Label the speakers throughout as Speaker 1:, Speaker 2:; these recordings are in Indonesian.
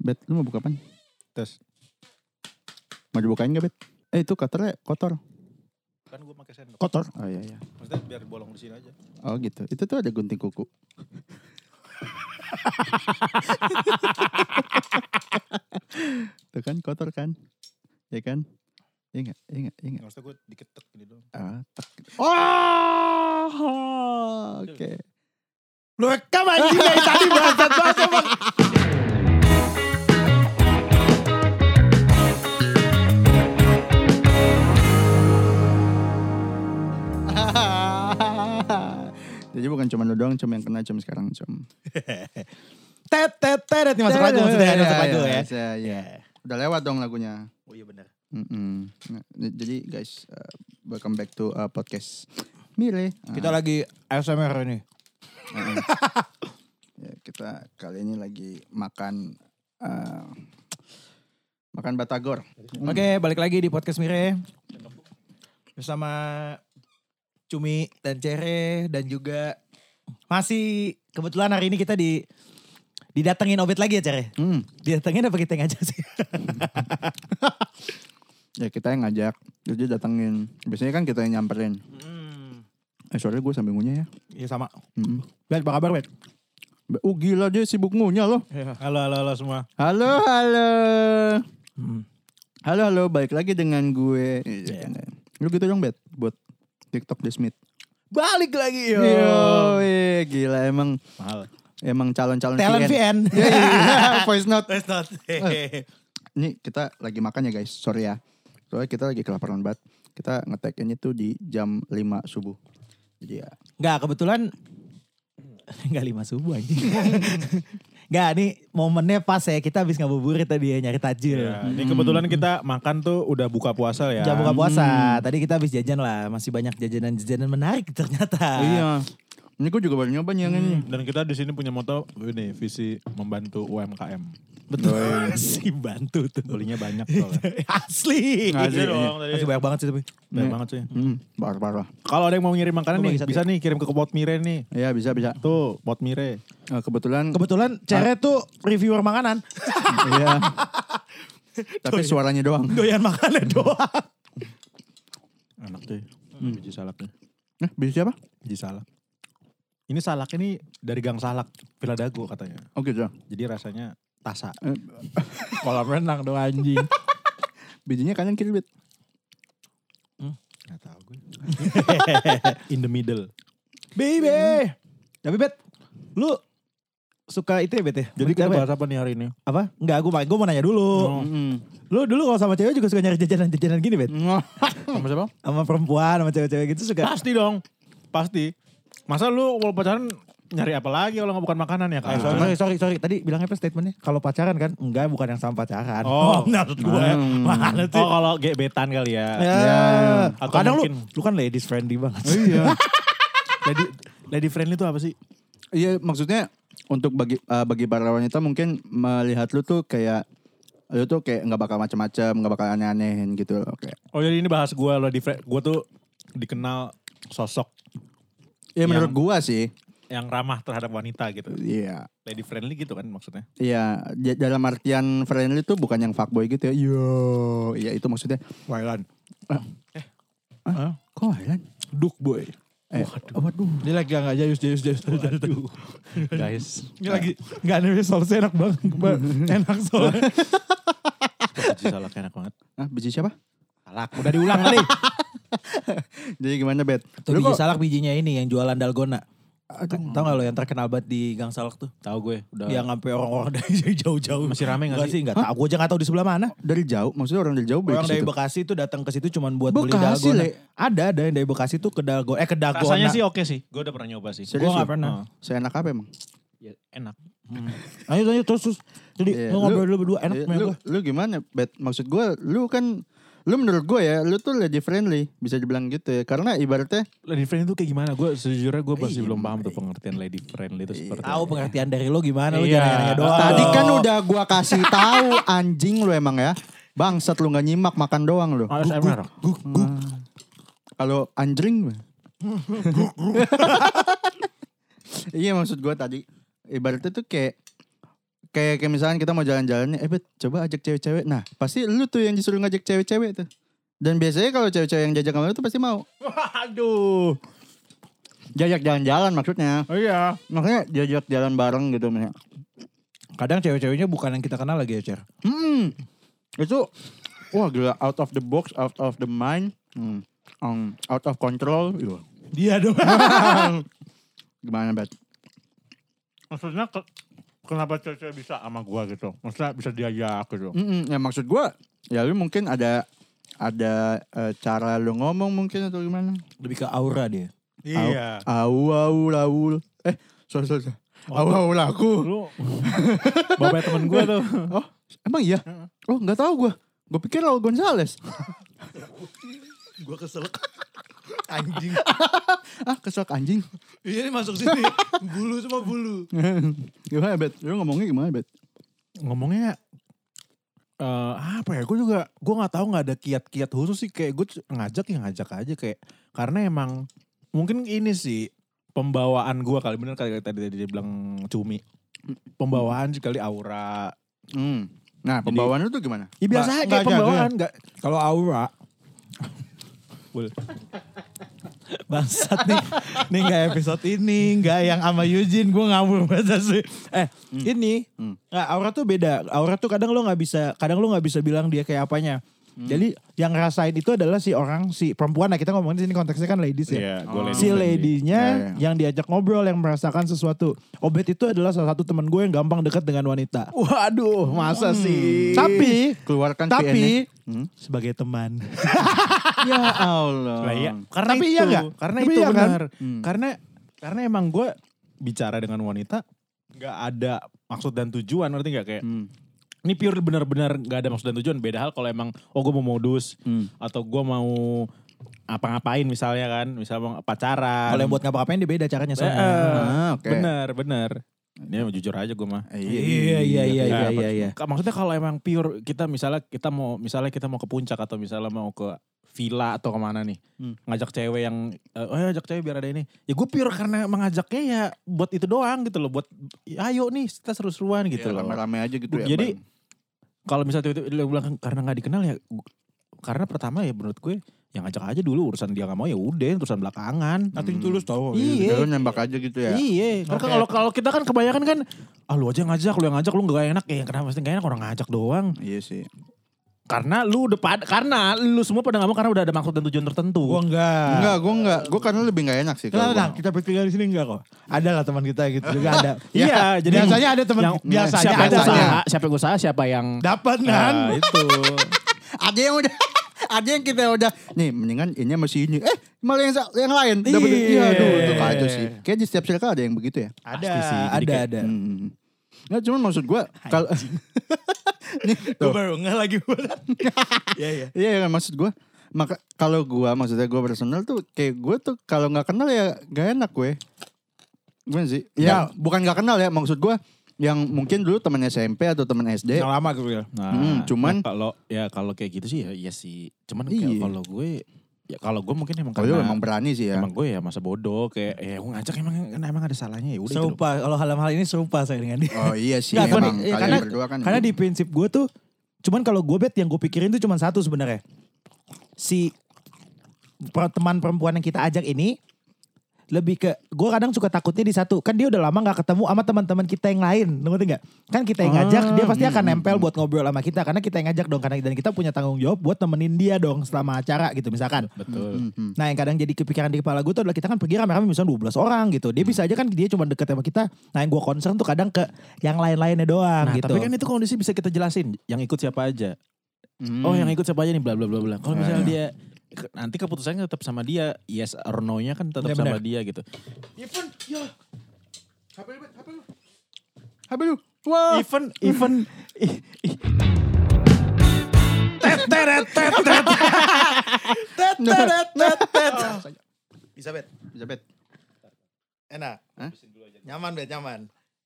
Speaker 1: Bet, lu mau buka apa?
Speaker 2: Tes.
Speaker 1: Mau dibukain gak, Bet? Eh, itu cutternya kotor.
Speaker 2: Kan gue pakai sendok.
Speaker 1: Kotor? Oh iya, iya.
Speaker 2: Maksudnya biar bolong di sini aja.
Speaker 1: Oh gitu. Itu tuh ada gunting kuku. tuh kan kotor kan? Ya kan? Iya enggak? Iya enggak? Iya enggak?
Speaker 2: Nggak maksudnya gue diketek gini doang.
Speaker 1: Ah, tak. Oh, oke.
Speaker 2: Lu rekam anjing dari tadi bangsat banget emang.
Speaker 1: Jadi bukan cuma lu doang cum yang kena cum sekarang cum.
Speaker 2: Tet tet tet nih masuk lagu maksudnya masuk lagu ya.
Speaker 1: Iya, Iya. Udah lewat dong lagunya.
Speaker 2: Oh iya benar.
Speaker 1: Mm-mm. Nah, jadi guys, uh, welcome back to uh, podcast Mile. Ah,
Speaker 2: Kita lagi ASMR ini.
Speaker 1: mm-mm. ya, kita kali ini lagi makan uh, makan batagor.
Speaker 2: Oke, balik lagi di podcast Mire. Bersama Cumi dan Cere dan juga masih kebetulan hari ini kita di didatengin Obet lagi ya Cere.
Speaker 1: Hmm.
Speaker 2: Didatengin apa kita yang ngajak sih?
Speaker 1: Ya kita yang ngajak, jadi datengin. Biasanya kan kita yang nyamperin.
Speaker 2: Hmm.
Speaker 1: Eh sorry gue sambil ngunyah ya.
Speaker 2: Iya sama.
Speaker 1: Mm-mm.
Speaker 2: Bet, apa kabar Bet?
Speaker 1: Be- Oh gila dia sibuk ngunyah loh.
Speaker 2: Iya. Halo, halo, halo semua.
Speaker 1: Halo, halo.
Speaker 2: Hmm.
Speaker 1: Halo, halo. Balik lagi dengan gue.
Speaker 2: Iya.
Speaker 1: Lu gitu dong, Bet. Buat TikTok The Smith.
Speaker 2: Balik lagi yo.
Speaker 3: Iya.
Speaker 1: Yo, eh, gila emang
Speaker 2: Mahal.
Speaker 1: emang calon-calon
Speaker 2: Talent
Speaker 3: kan?
Speaker 2: VN.
Speaker 1: Iya, iya, iya. Voice note.
Speaker 2: Let's not.
Speaker 3: Eh,
Speaker 1: Ini kita lagi makan ya guys, sorry ya. Soalnya kita lagi kelaparan banget. Kita ngetek ini tuh di jam 5 subuh. Jadi ya,
Speaker 3: Enggak, kebetulan enggak lima subuh aja. Enggak, nih momennya pas ya kita habis ngabuburit tadi ya nyari tajil.
Speaker 4: Ya, ini kebetulan kita makan tuh udah buka puasa ya.
Speaker 3: Jam buka puasa. Tadi kita habis jajan lah, masih banyak jajanan-jajanan menarik
Speaker 4: Ah.
Speaker 3: ternyata.
Speaker 1: iya. Ini gue juga baru nyoba nih yang ini.
Speaker 4: Dan kita di sini punya moto ini visi membantu UMKM.
Speaker 3: Betul. si bantu tuh.
Speaker 4: Belinya banyak soalnya.
Speaker 3: Asli.
Speaker 1: Asli,
Speaker 3: Masih banyak banget sih tapi.
Speaker 4: Banyak banget sih.
Speaker 1: Hmm, parah-parah.
Speaker 4: Kalau ada yang mau ngirim
Speaker 3: Lu
Speaker 4: makanan
Speaker 3: bagi
Speaker 4: nih,
Speaker 3: satu
Speaker 4: bisa nih kirim ke Pot Mire nih.
Speaker 1: Iya, bisa bisa.
Speaker 4: Tuh, Pot Mire.
Speaker 1: Eh, kebetulan
Speaker 3: Kebetulan Cere tuh reviewer makanan.
Speaker 1: Iya. Tapi suaranya doang.
Speaker 3: Doyan makanan doang.
Speaker 4: Enak tuh. Biji salaknya.
Speaker 1: Nah, bisa siapa?
Speaker 4: Biji salak. Ini salak ini dari Gang Salak, Villa Dago katanya.
Speaker 1: Oke, gitu.
Speaker 4: Jadi rasanya tasa.
Speaker 1: Eh,
Speaker 3: Kolam renang dong anjing.
Speaker 1: bijinya kanan kiri, Bet.
Speaker 4: Gak tau gue. In the middle.
Speaker 3: Baby. Tapi Bet, lu suka itu ya Bet ya?
Speaker 4: Jadi kita
Speaker 3: Apa ya?
Speaker 4: bahas apa nih hari ini?
Speaker 3: apa? Enggak, gue gue mau nanya dulu.
Speaker 4: Oh.
Speaker 1: Mm.
Speaker 3: Lu dulu kalau sama cewek juga suka nyari jajanan-jajanan gini, Bet?
Speaker 4: Sama siapa?
Speaker 3: Sama perempuan, sama cewek-cewek gitu suka.
Speaker 4: Pasti dong. Pasti. Masa lu kalau pacaran nyari apa lagi kalau nggak bukan makanan ya
Speaker 3: Eh,
Speaker 4: kak?
Speaker 3: sorry, sorry, sorry, sorry. Tadi bilangnya apa statementnya? Kalau pacaran kan? Enggak, bukan yang sama pacaran.
Speaker 4: Oh.
Speaker 3: maksud gue.
Speaker 1: Hmm.
Speaker 3: ya. Mana
Speaker 4: Oh
Speaker 3: sih?
Speaker 4: kalau gebetan kali ya.
Speaker 3: Ya.
Speaker 4: Atau
Speaker 3: Kadang lu,
Speaker 4: mungkin-
Speaker 3: lu kan ladies friendly banget.
Speaker 1: Iya.
Speaker 4: Lady, lady friendly itu apa sih?
Speaker 1: Iya, maksudnya untuk bagi eh, bagi para wanita mungkin melihat lu tuh kayak lu tuh kayak nggak bakal macam-macam, nggak bakal aneh-anehin gitu loh. Kayak.
Speaker 4: Oh jadi ini bahas gue lady friend. Gue tuh dikenal sosok
Speaker 1: Ya menurut
Speaker 4: Yang-
Speaker 1: gua sih.
Speaker 4: yang ramah terhadap wanita gitu.
Speaker 1: Iya.
Speaker 4: Lady friendly gitu kan maksudnya.
Speaker 1: Iya, ja- dalam artian friendly tuh bukan yang fuckboy gitu ya. Yo, iya itu maksudnya.
Speaker 4: Wailan. Eh.
Speaker 1: Ah, kok Thailand?
Speaker 4: Duk boy.
Speaker 1: Eh, waduh.
Speaker 3: Dia lagi enggak jayus, jayus, jayus. Aduh.
Speaker 4: Guys.
Speaker 3: Dia lagi enggak ada sausnya enak banget. enak soalnya.
Speaker 4: Biji salak enak banget.
Speaker 1: Ah, biji siapa?
Speaker 4: Salak. Udah diulang kali.
Speaker 1: Jadi gimana, Bet?
Speaker 3: Tuh
Speaker 1: Lu
Speaker 3: biji
Speaker 1: kok
Speaker 3: salak bijinya ini yang jualan dalgona. Kan, Tau gak lo yang terkenal banget di Gang Salak tuh?
Speaker 4: Tahu gue. Udah.
Speaker 3: Yang sampai orang-orang dari jauh-jauh.
Speaker 4: Masih rame nggak
Speaker 3: Nah. Nggak
Speaker 4: sih?
Speaker 3: Enggak tahu. Gue aja nggak tahu di sebelah mana.
Speaker 1: dari jauh, maksudnya orang dari jauh beli
Speaker 3: Orang
Speaker 1: ke
Speaker 3: dari
Speaker 1: situ?
Speaker 3: Bekasi tuh datang ke situ cuman buat beli
Speaker 1: Bekasi,
Speaker 3: dalgona.
Speaker 1: Le.
Speaker 3: Ada, ada yang dari Bekasi tuh ke dalgona. Eh ke dalgona.
Speaker 4: Rasanya sih oke sih. Gue udah pernah nyoba sih.
Speaker 1: Serius?
Speaker 3: Gue
Speaker 1: lu?
Speaker 3: gak pernah.
Speaker 4: Oh.
Speaker 1: Saya enak apa emang?
Speaker 4: Ya, enak.
Speaker 3: Ayo, ayo terus terus. Jadi
Speaker 1: Iya,
Speaker 3: lu
Speaker 1: lu-
Speaker 3: ngobrol dulu berdua enak
Speaker 1: Iya,
Speaker 3: sama
Speaker 1: lu,
Speaker 3: gue.
Speaker 1: lu gimana, Bet? Maksud gue, lu kan, lu menurut gue ya, lu tuh lady friendly, bisa dibilang gitu ya. Karena ibaratnya,
Speaker 4: Lady friendly itu kayak gimana? Gue sejujurnya gue masih
Speaker 1: Iya,
Speaker 4: belum paham tuh pengertian lady friendly itu seperti
Speaker 3: Tahu
Speaker 4: apa.
Speaker 3: pengertian dari lo gimana lu
Speaker 4: Iya.
Speaker 3: jangan nanya Ya doang.
Speaker 1: tadi kan
Speaker 3: Lu-
Speaker 1: udah gue kasih tahu anjing lu emang ya. Bangsat lu gak nyimak, makan doang
Speaker 4: Oh,
Speaker 1: lu.
Speaker 4: ASMR.
Speaker 1: Kalau anjing. iya maksud gue tadi, ibaratnya tuh kayak, kayak kayak misalkan kita mau jalan-jalan nih, eh bet, coba ajak cewek-cewek. Nah, pasti lu tuh yang disuruh ngajak cewek-cewek tuh. Dan biasanya kalau cewek-cewek yang jajak sama lu tuh pasti mau.
Speaker 4: Waduh.
Speaker 1: Jajak jalan-jalan maksudnya.
Speaker 4: Oh iya.
Speaker 1: Makanya jajak jalan bareng gitu misalnya.
Speaker 3: Kadang cewek-ceweknya bukan yang kita kenal lagi ya, Cer.
Speaker 1: Hmm. Itu wah gila out of the box, out of the mind. Hmm. Um, out of control. Iya.
Speaker 3: Dia doang.
Speaker 1: Gimana, Bet?
Speaker 4: Maksudnya ke- kenapa cewek-cewek bisa sama gua gitu? Maksudnya bisa diajak gitu.
Speaker 1: Mm-mm, ya maksud gua ya lu mungkin ada ada eh, cara lu ngomong mungkin atau gimana?
Speaker 3: Lebih ke aura dia.
Speaker 4: Iya.
Speaker 1: Au au laul. Eh, sorry sorry. sorry. Au au laku.
Speaker 4: Lu bapak temen gua tuh.
Speaker 1: Oh, emang iya? Oh, nggak tahu gua. Gue pikir Raul Gonzales.
Speaker 3: Gua kesel. Anjing.
Speaker 1: ah, keselak anjing.
Speaker 3: Iya ini masuk sini. Bulu semua bulu.
Speaker 1: gimana, Bet? Lu ngomongnya gimana, Bet?
Speaker 4: Ngomongnya eh apa ya? Gue juga gue nggak tahu nggak ada kiat-kiat khusus sih kayak gue ngajak ya ngajak aja kayak karena emang mungkin ini sih pembawaan gua kali bener kali tadi tadi dia bilang cumi pembawaan sih kali aura
Speaker 1: Hmm. Nah, pembawaan lu tuh gimana?
Speaker 4: ya biasa aja
Speaker 3: nggak
Speaker 4: kayak
Speaker 3: aja,
Speaker 4: pembawaan nggak
Speaker 3: Kalau aura.
Speaker 4: Boleh.
Speaker 3: Bangsat nih. nih gak episode ini. Gak yang sama Yujin. Gue ngawur banget sih. Eh ini.
Speaker 1: Hmm.
Speaker 3: nah, aura tuh beda. Aura tuh kadang lo gak bisa. Kadang lo gak bisa bilang dia kayak apanya. Jadi yang ngerasain itu adalah si orang, si perempuan. Nah kita ngomongin di sini konteksnya kan ladies ya.
Speaker 4: Iya, gua
Speaker 1: Oh.
Speaker 4: ladies
Speaker 3: si
Speaker 4: tadi.
Speaker 1: Ya,
Speaker 3: ladinya
Speaker 1: ya.
Speaker 3: yang diajak ngobrol yang merasakan sesuatu. Obet itu adalah salah satu teman gue yang gampang dekat dengan wanita.
Speaker 4: Waduh, masa
Speaker 1: Hmm.
Speaker 4: sih?
Speaker 3: Tapi
Speaker 1: Keluarkan
Speaker 3: tapi
Speaker 1: PN-nya. Hmm?
Speaker 3: sebagai teman.
Speaker 1: Ya Allah.
Speaker 4: Lah iya, karena
Speaker 3: Tapi
Speaker 4: itu,
Speaker 3: iya nggak?
Speaker 4: karena
Speaker 3: Tapi
Speaker 4: itu
Speaker 3: iya kan?
Speaker 4: benar. Karena karena emang gue bicara dengan wanita nggak ada maksud dan tujuan, ngerti nggak kayak
Speaker 1: Hmm.
Speaker 4: ini pure benar-benar nggak ada maksud dan tujuan. Beda hal kalau emang oh gue mau modus
Speaker 1: Hmm.
Speaker 4: atau gue mau apa-ngapain misalnya kan, misal mau pacaran.
Speaker 3: Kalau yang buat ngapa-ngapain dia beda caranya
Speaker 4: Eh,
Speaker 3: soalnya.
Speaker 1: Ah, oke.
Speaker 4: bener bener. Ini emang jujur aja gue mah.
Speaker 3: Iya iya iya iya iya iya.
Speaker 4: Ka- Maksudnya kalau emang pure kita misalnya kita mau misalnya kita mau ke puncak atau misalnya mau ke villa atau kemana nih
Speaker 1: Hmm.
Speaker 4: ngajak cewek yang eh, oh ya ajak cewek biar ada ini ya gue pure karena mengajaknya ya buat itu doang gitu loh buat "Ya, ayo nih kita seru-seruan
Speaker 3: Iya,
Speaker 4: gitu
Speaker 1: Gitu
Speaker 4: loh
Speaker 1: rame-rame aja gitu ya.
Speaker 4: Jadi-
Speaker 1: Bang.
Speaker 4: kalau misalnya tiba-tiba dia bilang karena nggak dikenal ya gu- karena pertama ya menurut gue yang ngajak aja dulu urusan dia nggak mau ya udah urusan belakangan
Speaker 3: Nothing tulus tau.
Speaker 1: Ya, lu
Speaker 4: iya
Speaker 1: nembak aja gitu ya.
Speaker 4: Iya, karena kalau kalau kita kan kebanyakan kan, ah lu aja yang ngajak, lu yang ngajak, lu gak enak ya, kenapa mesti gak enak orang ngajak doang.
Speaker 1: Iya sih.
Speaker 4: Karena lu udah pad- karena lu semua pada nggak mau karena udah ada maksud dan tujuan tertentu.
Speaker 3: Gue enggak.
Speaker 1: Enggak, gue enggak. Gue karena lebih enggak enak sih.
Speaker 3: Enggak,
Speaker 1: kalau
Speaker 3: enggak,
Speaker 1: gua.
Speaker 3: kita bertiga di sini enggak kok. Ada lah teman kita gitu juga ada.
Speaker 4: Iya, jadi
Speaker 3: biasanya ada teman
Speaker 4: yang-
Speaker 3: biasanya
Speaker 4: siapa yang
Speaker 3: ada.
Speaker 4: usaha, siapa yang usaha, siapa yang
Speaker 3: Dapat kan?
Speaker 4: Ah, itu.
Speaker 1: Ada yang udah ada yang kita udah nih mendingan ini masih ini eh malah yang, sa- yang lain
Speaker 3: Iya.
Speaker 1: Dapetin- iya aduh itu kacau sih kayak di setiap circle ada yang begitu ya
Speaker 3: Ada,
Speaker 4: Pasti sih, jadi
Speaker 3: ada,
Speaker 4: kayak-
Speaker 3: ada.
Speaker 1: Hmm. Nggak, cuman maksud gue kalau nih
Speaker 3: Gue
Speaker 4: gitu.
Speaker 1: tuh.
Speaker 3: baru enggak lagi. Iya iya.
Speaker 1: Iya kan maksud gue maka kalau gue maksudnya gue personal tuh kayak gue tuh kalau nggak kenal ya gak enak gue. Gimana sih? Ya bukan nggak kenal ya maksud gue yang mungkin dulu temen SMP atau temen SD.
Speaker 3: Yang lama gue bilang.
Speaker 4: Nah,
Speaker 1: Eh. Hmm, cuman-
Speaker 4: ya kalau ya kalau kayak gitu sih ya iya sih. Cuman
Speaker 1: Iya.
Speaker 4: kayak kalau gue ya kalau gue mungkin emang
Speaker 1: Kalau
Speaker 4: karena
Speaker 1: lu emang berani sih ya.
Speaker 4: emang gue ya masa bodoh kayak ya gue ngajak emang emang ada salahnya ya udah itu
Speaker 3: Serupa kalau hal-hal ini serupa saya dengan dia.
Speaker 1: Oh iya sih
Speaker 3: Nggak, kalau
Speaker 1: emang
Speaker 3: di-
Speaker 1: kalian
Speaker 3: iya, karena-
Speaker 1: berdua kan.
Speaker 3: Karena di prinsip gue tuh, cuman kalau gue bet yang gue pikirin tuh cuman satu sebenarnya. Si per- teman perempuan yang kita ajak ini lebih ke gue kadang suka takutnya di satu kan dia udah lama nggak ketemu sama teman-teman kita yang lain ngerti nggak kan kita yang ngajak dia pasti
Speaker 1: Ah.
Speaker 3: akan nempel buat ngobrol sama kita karena kita yang ngajak dong karena dan kita punya tanggung jawab buat temenin dia dong selama acara gitu misalkan
Speaker 1: Hmm.
Speaker 4: betul
Speaker 3: Nah yang kadang jadi kepikiran di kepala gue tuh adalah kita kan pergi rame-rame misalnya 12 orang gitu. Dia
Speaker 4: Hmm.
Speaker 3: bisa aja kan dia cuma deket sama kita. Nah yang gue concern tuh kadang ke yang lain-lainnya doang
Speaker 4: nah
Speaker 3: gitu.
Speaker 4: tapi kan itu kondisi bisa kita jelasin yang ikut siapa aja oh yang ikut siapa aja nih bla bla bla bla kalau misalnya dia ke- nanti keputusannya tetap sama dia yes or no nya kan
Speaker 3: Iya,
Speaker 4: tetap sama dia gitu
Speaker 1: Iya, Habis lu. Wah.
Speaker 4: even even
Speaker 3: Bisa bet.
Speaker 1: Bisa bet.
Speaker 3: Enak.
Speaker 1: Hah?
Speaker 3: Nyaman bet, nyaman.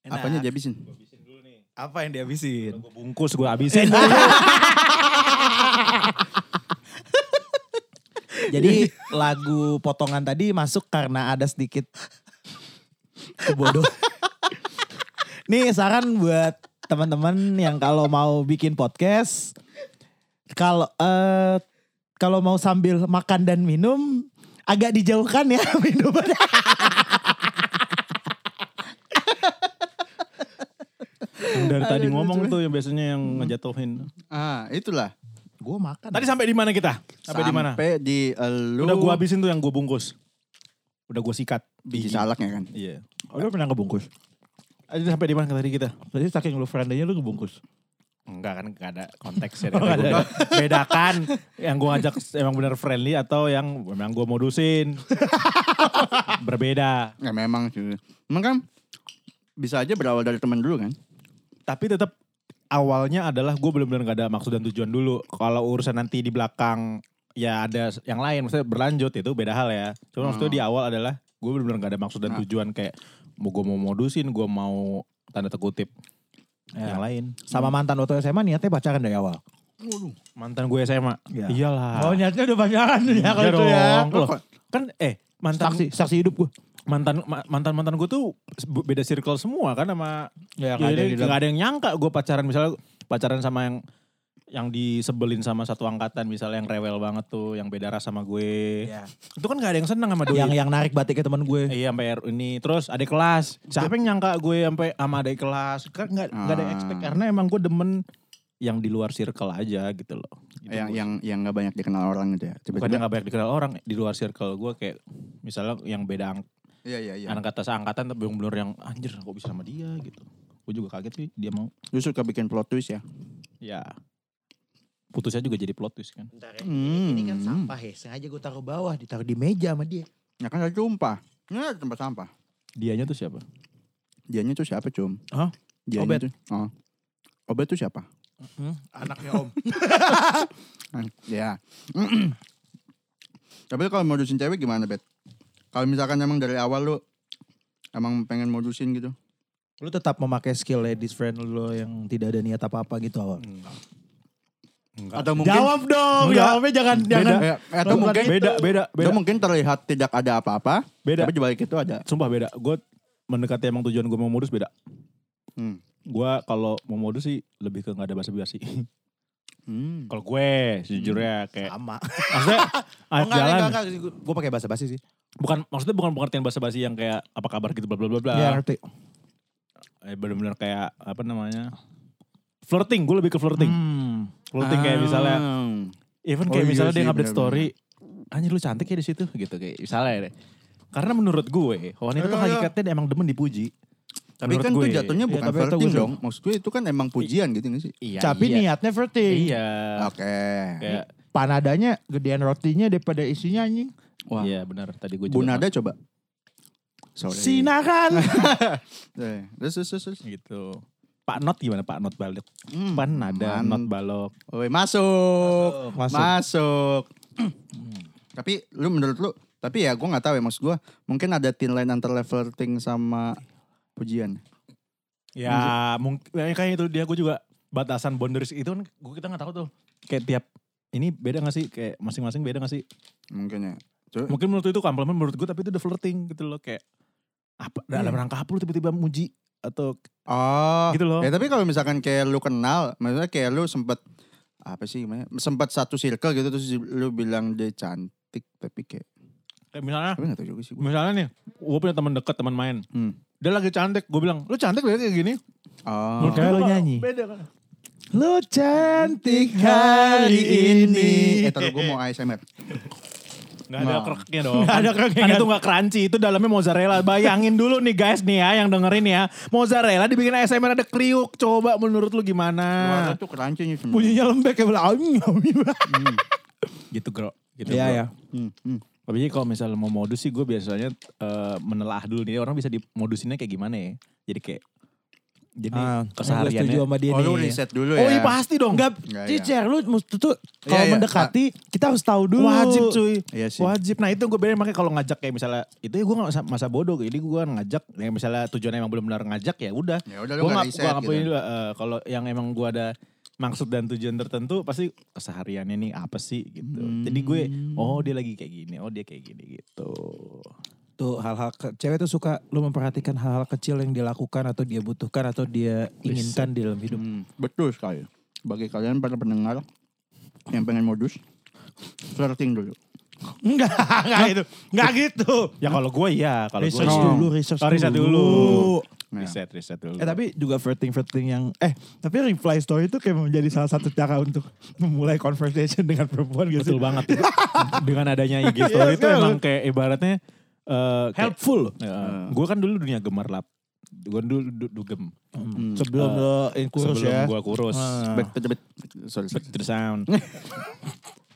Speaker 3: Enak.
Speaker 1: Apanya dihabisin?
Speaker 3: Apa yang dihabisin?
Speaker 4: gue bungkus gue habisin
Speaker 3: Jadi lagu potongan tadi masuk karena ada sedikit kebodohan. Nih saran buat teman-teman yang kalau mau bikin podcast kalau eh, kalau mau sambil makan dan minum agak dijauhkan ya minuman.
Speaker 4: Yang dari tadi ngomong tuh yang biasanya yang ngejatuhin.
Speaker 1: Ah, itulah.
Speaker 3: Gue makan.
Speaker 4: Hmm. Tadi sampai di mana kita? Sampai di mana?
Speaker 1: Sampai di eh, elu
Speaker 4: Udah gua habisin tuh yang gua bungkus. Udah gua sikat.
Speaker 1: biji salaknya kan.
Speaker 4: Iya.
Speaker 3: Lu pernah ngebungkus?
Speaker 4: Aduh sampai di mana tadi kita?
Speaker 3: Tadi saking lu friendly-nya lu ngebungkus.
Speaker 4: Enggak kan gak ada konteksnya. Kan gua bilang, Bedakan yang gua ngajak emang bener friendly atau yang memang gua modusin. Berbeda.
Speaker 1: Ya memang sih. Emang kan bisa aja berawal dari teman dulu kan.
Speaker 4: Tapi tetap awalnya adalah gua bener-bener gak ada maksud dan tujuan dulu. Kalau urusan nanti di belakang ya ada yang lain. Maksudnya berlanjut itu beda hal ya. Cuma maksudnya di awal adalah gue bener-bener gak ada maksud dan tujuan. Kayak mau gue mau modusin, gua mau tanda tekutip.
Speaker 3: Ya.
Speaker 4: Yang lain.
Speaker 3: Sama mantan waktu SMA niatnya pacaran dari awal.
Speaker 4: Mantan gue SMA.
Speaker 3: Iya.
Speaker 4: Iyalah.
Speaker 3: Oh niatnya udah pacaran ya kalau
Speaker 4: Iya
Speaker 3: itu ya.
Speaker 4: dong. Loh, kan eh mantan
Speaker 3: Saksi, saksi hidup gue.
Speaker 4: mantan mantan mantan gue tuh bu- beda circle semua kan sama
Speaker 3: Ya,
Speaker 4: Jadi nggak ada yang nyangka gue pacaran misalnya pacaran sama yang yang disebelin sama satu angkatan misalnya yang rewel banget tuh yang beda ras sama gue
Speaker 3: Iya.
Speaker 4: itu kan gak ada yang seneng sama doi
Speaker 3: yang yang narik batiknya teman gue.
Speaker 4: iya sampai R- ini terus adik kelas siapa yang nyangka gue sampai sama adik kelas kan nggak nggak ada
Speaker 3: Hmm.
Speaker 4: yang expect karena emang gue demen yang di luar circle aja gitu loh Gitu
Speaker 1: yang
Speaker 4: gue.
Speaker 1: yang yang nggak banyak dikenal orang gitu ya.
Speaker 4: bukannya
Speaker 1: Tiba-tiba.
Speaker 4: nggak banyak dikenal orang di luar circle gue kayak misalnya yang beda ang-
Speaker 1: Iya iya
Speaker 3: Ya.
Speaker 1: iya.
Speaker 4: anak atas angkatan tapi yang bener yang anjir kok bisa sama dia gitu gue juga kaget sih dia mau
Speaker 1: Lu suka bikin plot twist ya.
Speaker 4: ya putusnya juga jadi plot twist kan
Speaker 3: Bentar ya.
Speaker 1: Hmm.
Speaker 3: Ini kan sampah ya. Sengaja gue taruh bawah, ditaruh di meja sama dia.
Speaker 1: Ya kan ada tumpah. Ya tempat sampah.
Speaker 4: dianya tuh siapa
Speaker 1: Dianya tuh siapa cum?
Speaker 4: Hah?
Speaker 1: Dianya
Speaker 4: Obet.
Speaker 1: Tuh, oh. Obet tuh siapa?
Speaker 2: Anaknya om.
Speaker 1: Hmm, Ya. Tapi kalau modusin cewek gimana bet? Kalau misalkan emang dari awal lu emang pengen modusin gitu?
Speaker 3: Lu tetap memakai skill ladies friend lo yang tidak ada niat apa-apa gitu awal.
Speaker 1: Atau mungkin
Speaker 3: dong,
Speaker 4: Enggak.
Speaker 3: jawabnya jangan gitu.
Speaker 4: beda
Speaker 1: Eh, atau mungkin
Speaker 4: beda beda beda
Speaker 1: Atau mungkin terlihat tidak ada apa-apa,
Speaker 4: beda
Speaker 1: tapi di balik itu ada.
Speaker 4: sumpah beda gue mendekati emang tujuan gue mau modus beda
Speaker 1: Hmm.
Speaker 4: gue kalau mau modus sih lebih ke nggak ada basa basi
Speaker 1: Hmm.
Speaker 4: kalau gue sejujurnya kayak
Speaker 3: Sama.
Speaker 4: maksudnya
Speaker 3: Oh,
Speaker 4: ayo
Speaker 3: enggak,
Speaker 4: jalan
Speaker 3: enggak, enggak, enggak. Gue pakai bahasa basi sih.
Speaker 4: bukan maksudnya bukan pengertian basa basi yang kayak apa kabar gitu bla bla bla bla
Speaker 3: Iya ngerti.
Speaker 4: eh, bener-bener kayak apa namanya flirting gue lebih ke flirting
Speaker 3: Hmm.
Speaker 4: flirting
Speaker 1: Ah.
Speaker 4: kayak misalnya even kayak
Speaker 1: Oh iya
Speaker 4: misalnya dia
Speaker 1: sih,
Speaker 4: ngupdate
Speaker 1: bener-bener.
Speaker 4: story anjir lu cantik ya di situ gitu kayak misalnya deh karena menurut gue wanita
Speaker 1: Ayo,
Speaker 4: tuh
Speaker 1: ayo.
Speaker 4: hakikatnya emang demen dipuji
Speaker 1: Iya. Tapi
Speaker 4: Menurut
Speaker 1: kan itu
Speaker 4: gue.
Speaker 1: jatuhnya
Speaker 3: Iya,
Speaker 1: bukan
Speaker 3: tapi itu
Speaker 1: flirting
Speaker 3: gue
Speaker 1: dong. Maksud gue itu kan emang pujian gitu gak sih?
Speaker 4: iya
Speaker 3: Tapi
Speaker 4: iya.
Speaker 3: niatnya flirting.
Speaker 4: iya
Speaker 1: Oke.
Speaker 4: kayak
Speaker 3: Panadanya gedean rotinya daripada isinya anjing.
Speaker 1: Wah.
Speaker 4: iya benar tadi gue juga
Speaker 1: Bunada coba. Sorry.
Speaker 3: Sinaran.
Speaker 1: Eh, Terus, terus, terus. terus.
Speaker 4: gitu Pak Not gimana Pak Not Balok?
Speaker 1: Hmm.
Speaker 4: Pan ada
Speaker 1: Man-
Speaker 4: Not Balok.
Speaker 1: Woi, masuk.
Speaker 3: Masuk.
Speaker 1: Masuk. tapi lu menurut lu, tapi ya gue nggak tahu ya maksud gue, mungkin ada thin line antara flirting sama pujian.
Speaker 4: Ya mungkin kayak itu dia gue juga batasan boundaries itu kan gue kita nggak tahu tuh. Kayak tiap ini beda gak sih? Kayak masing-masing beda gak sih?
Speaker 1: Mungkin ya.
Speaker 4: Mungkin menurut lu itu komplimen menurut gue tapi itu udah flirting gitu loh kayak apa dalam
Speaker 3: Hmm.
Speaker 4: rangka apa lu tiba-tiba muji atau
Speaker 1: Oh,
Speaker 4: gitu loh.
Speaker 1: Ya tapi kalau misalkan kayak lu kenal, maksudnya kayak lu sempet apa sih gimana? Sempet satu circle gitu terus lu bilang dia cantik tapi kayak
Speaker 4: Kayak misalnya
Speaker 1: tapi gak tau juga sih gue.
Speaker 4: misalnya nih gue punya teman dekat teman main.
Speaker 1: Hmm.
Speaker 4: Dia lagi cantik, gue bilang, "Lu cantik lihat kayak gini."
Speaker 1: Oh.
Speaker 3: Kayak lo nyanyi.
Speaker 4: Beda kan.
Speaker 3: Lu cantik hari ini.
Speaker 1: Eh taruh gue mau ASMR.
Speaker 4: Gak ada
Speaker 1: Nah.
Speaker 4: kereknya dong.
Speaker 3: Nggak ada kereknya,
Speaker 4: Kan
Speaker 3: nggak
Speaker 4: itu gak crunchy, itu dalamnya mozzarella. Bayangin dulu nih guys nih ya yang dengerin ya. Mozzarella dibikin ASMR ada kriuk. Coba menurut lu
Speaker 1: Wah,
Speaker 4: gimana?
Speaker 1: itu crunchy nih sebenarnya.
Speaker 3: Bunyinya lembek ya. bilang, "Aum, aum, aum."
Speaker 4: Gitu bro. Gitu
Speaker 3: Iya
Speaker 4: bro.
Speaker 3: ya.
Speaker 1: Hmm, hmm.
Speaker 4: Tapi kalau misalnya mau modus sih gue biasanya eh, menelaah dulu nih. Orang bisa dimodusinnya kayak gimana ya. Jadi kayak. Jadi
Speaker 3: Ah, gue
Speaker 4: kesehariannya.
Speaker 3: setuju sama dia
Speaker 1: Oh, lu
Speaker 3: nih.
Speaker 1: riset dulu ya.
Speaker 3: Oh iya pasti dong. Enggak,
Speaker 1: Enggak, iya.
Speaker 3: cicer lu mesti tuh kalau
Speaker 1: Iya, iya.
Speaker 3: mendekati kita harus tahu dulu.
Speaker 4: Wajib cuy.
Speaker 1: Iya sih.
Speaker 4: Wajib. Nah itu gue bedain makanya kalau ngajak kayak misalnya itu ya gue gak masa, masa bodoh. Jadi gue ngajak yang misalnya tujuannya emang belum benar ngajak ya udah.
Speaker 1: Ya udah, lu
Speaker 4: gue
Speaker 1: nggak
Speaker 4: nggak
Speaker 1: riset
Speaker 4: gue ngapain
Speaker 1: gitu.
Speaker 4: dulu, eh, kalau yang emang gue ada maksud dan tujuan tertentu pasti kesehariannya
Speaker 1: Hmm.
Speaker 4: nih apa sih gitu. Jadi gue oh dia lagi kayak gini, oh dia kayak gini gitu.
Speaker 2: Tuh hal-hal ke- cewek tuh suka lu memperhatikan hal-hal kecil yang dilakukan atau dia butuhkan atau dia inginkan di dalam hidup.
Speaker 1: Hmm, betul sekali. Bagi kalian para pendengar yang pengen modus, flirting dulu.
Speaker 2: Enggak, enggak itu. Enggak gitu.
Speaker 4: Ya kalau gue iya, kalau gue
Speaker 2: Research
Speaker 1: No.
Speaker 2: dulu, research
Speaker 4: Oh, riset dulu.
Speaker 1: Nah,
Speaker 4: Riset, riset dulu.
Speaker 3: Eh tapi juga flirting-flirting yang eh tapi reply story itu kayak menjadi salah satu cara untuk memulai conversation dengan perempuan gitu.
Speaker 4: Betul banget. Dengan adanya IG
Speaker 1: Iya,
Speaker 4: story itu emang kayak ibaratnya eh, kayak-
Speaker 2: Helpful.
Speaker 1: Nah.
Speaker 4: Eh, gue kan dulu dunia gemerlap. Gue dulu du- dugem.
Speaker 3: Sebelum
Speaker 4: Eh,
Speaker 3: lo in kurus
Speaker 4: sebelum
Speaker 3: ya.
Speaker 4: gue kurus.
Speaker 1: bet, bet, bet. Sorry, sorry.
Speaker 4: Back to the sound.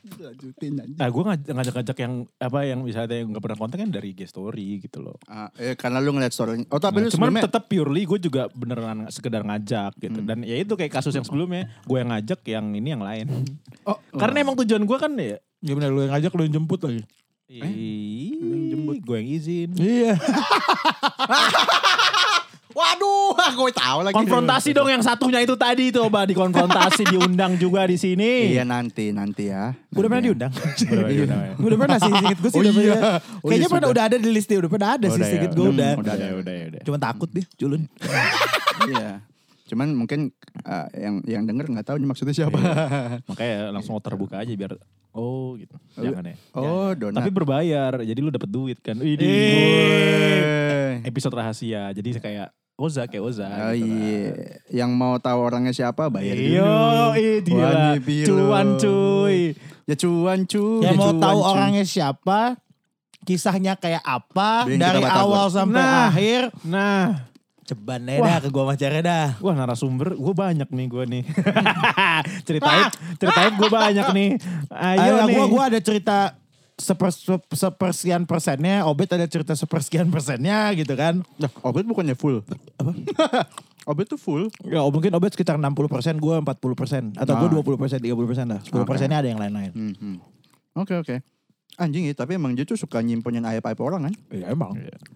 Speaker 1: Lanjutin aja.
Speaker 4: Nah, gue ngajak-ngajak yang apa yang misalnya yang gak pernah konten kan dari IG story gitu loh.
Speaker 1: Ah, eh, karena lu ngeliat story Oh tapi
Speaker 4: Nah,
Speaker 1: lu
Speaker 4: cuman
Speaker 1: sebelumnya
Speaker 4: tetap purely gue juga beneran sekedar ngajak gitu. Dan ya itu kayak kasus yang sebelumnya gue yang ngajak yang ini yang lain.
Speaker 1: Oh,
Speaker 4: Karena emang tujuan gue kan ya
Speaker 3: Ya benar lu yang ngajak lu yang jemput lagi.
Speaker 4: Ih, jemput gue yang izin.
Speaker 3: Iya.
Speaker 1: Waduh, gue tahu lagi.
Speaker 4: Konfrontasi dong yang satunya itu tadi coba dikonfrontasi diundang juga di sini.
Speaker 1: Iya nanti, nanti ya.
Speaker 3: Udah pernah
Speaker 1: Nanti ya.
Speaker 3: diundang.
Speaker 4: Udah, Iya. udah, udah.
Speaker 3: udah pernah sih singkat gue sih
Speaker 1: Oh
Speaker 3: udah
Speaker 1: iya. Oh
Speaker 3: pernah.
Speaker 1: iya,
Speaker 3: Kayaknya pernah
Speaker 1: sudah. Oh,
Speaker 3: udah ada di listnya udah pernah ada sih
Speaker 4: Udah,
Speaker 3: singkat
Speaker 4: ya,
Speaker 3: gue
Speaker 4: udah.
Speaker 1: Hmm,
Speaker 3: udah.
Speaker 4: Udah, ya, udah, ya, udah.
Speaker 3: Cuma takut dia, culun.
Speaker 1: Iya. Cuman mungkin ah, yang yang denger nggak tahu ini maksudnya siapa.
Speaker 4: Makanya langsung terbuka aja biar oh gitu. Jangan ya.
Speaker 1: oh, Dona.
Speaker 4: Tapi berbayar, jadi lu dapat duit kan. Wih, di-
Speaker 1: Eh.
Speaker 4: episode rahasia. Jadi kayak Oza kayak Oza
Speaker 1: Oh
Speaker 4: gitu kan.
Speaker 1: iya, yang mau tahu orangnya siapa bayar dulu.
Speaker 4: Yo, ih,
Speaker 1: Wangi
Speaker 4: gila.
Speaker 1: pilu.
Speaker 4: Cuan cuy.
Speaker 1: Ya cuan cuy.
Speaker 3: Yang mau
Speaker 1: cuan,
Speaker 3: tahu
Speaker 1: cuy.
Speaker 3: orangnya siapa, kisahnya kayak apa
Speaker 1: Dia yang
Speaker 3: dari
Speaker 1: kita bakal
Speaker 3: awal sampai
Speaker 4: Nah.
Speaker 3: akhir.
Speaker 4: Nah,
Speaker 3: Ceban aja dah ke gua macarnya dah.
Speaker 4: Wah narasumber gue banyak nih gue nih. ceritain, ceritain gue banyak nih. Ayo
Speaker 3: Ayo, Ah.
Speaker 4: nih.
Speaker 3: gua gua ada cerita seper, se- sepersekian persennya, Obet ada cerita sepersekian persennya gitu kan.
Speaker 1: Nah, Obet bukannya full. Obet tuh full.
Speaker 3: Ya oh, mungkin Obet sekitar 60 persen, gue 40 persen. Atau
Speaker 1: Nah.
Speaker 3: gue 20 persen, 30 persen dah. 10 persennya ada yang lain-lain.
Speaker 1: Mhm. Oke oke. Anjing ya, tapi emang dia tuh suka nyimpenin aib-aib orang kan.
Speaker 3: Iya emang.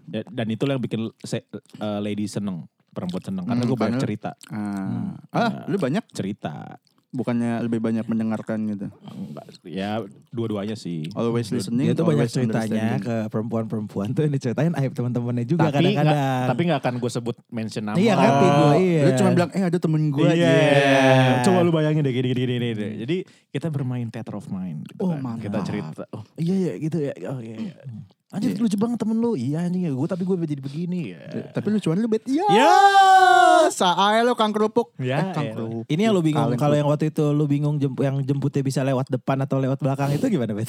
Speaker 4: Ya, Dan itu yang bikin se- eh, lady seneng, perempuan seneng. Karena
Speaker 1: Hmm,
Speaker 4: gue banyak
Speaker 1: karena-
Speaker 4: cerita,
Speaker 1: Ah, ah lu banyak
Speaker 4: cerita.
Speaker 1: bukannya lebih banyak mendengarkan gitu.
Speaker 4: Enggak, Ya dua-duanya sih.
Speaker 3: Oh,
Speaker 1: Always listening.
Speaker 4: oh,
Speaker 3: Dia tuh
Speaker 4: iya,
Speaker 3: banyak
Speaker 1: always
Speaker 3: ceritanya
Speaker 1: understanding.
Speaker 3: ke perempuan-perempuan tuh yang diceritain aib teman-temannya juga
Speaker 4: tapi nggak-
Speaker 3: kadang-kadang.
Speaker 4: tapi nggak akan gue sebut mention nama.
Speaker 3: Iya, ngerti
Speaker 1: Oh,
Speaker 3: gua, iya.
Speaker 1: Lu cuma bilang, eh ada temen gue.
Speaker 4: Iya.
Speaker 1: aja.
Speaker 4: Coba lu bayangin deh gini gini gini. gini, gini. Jadi kita bermain theater of mind. gitu
Speaker 1: Oh,
Speaker 4: kan.
Speaker 1: mantap.
Speaker 4: Kita cerita. Oh, iya iya gitu ya. Oh iya iya. Anjir lucu banget temen lu. Iya anjing ya. Gue tapi gue jadi begini ya.
Speaker 1: Tapi lu cuman lu bet. Iya.
Speaker 4: Ya.
Speaker 1: Saai lu kang kerupuk.
Speaker 4: Ya,
Speaker 1: Eh, kang
Speaker 4: elah.
Speaker 1: kerupuk.
Speaker 3: Iya. Ini yang lu bingung
Speaker 1: Kaleng
Speaker 3: kalau yang waktu itu lu bingung jemp- yang jemputnya bisa lewat depan atau lewat belakang itu gimana Bet?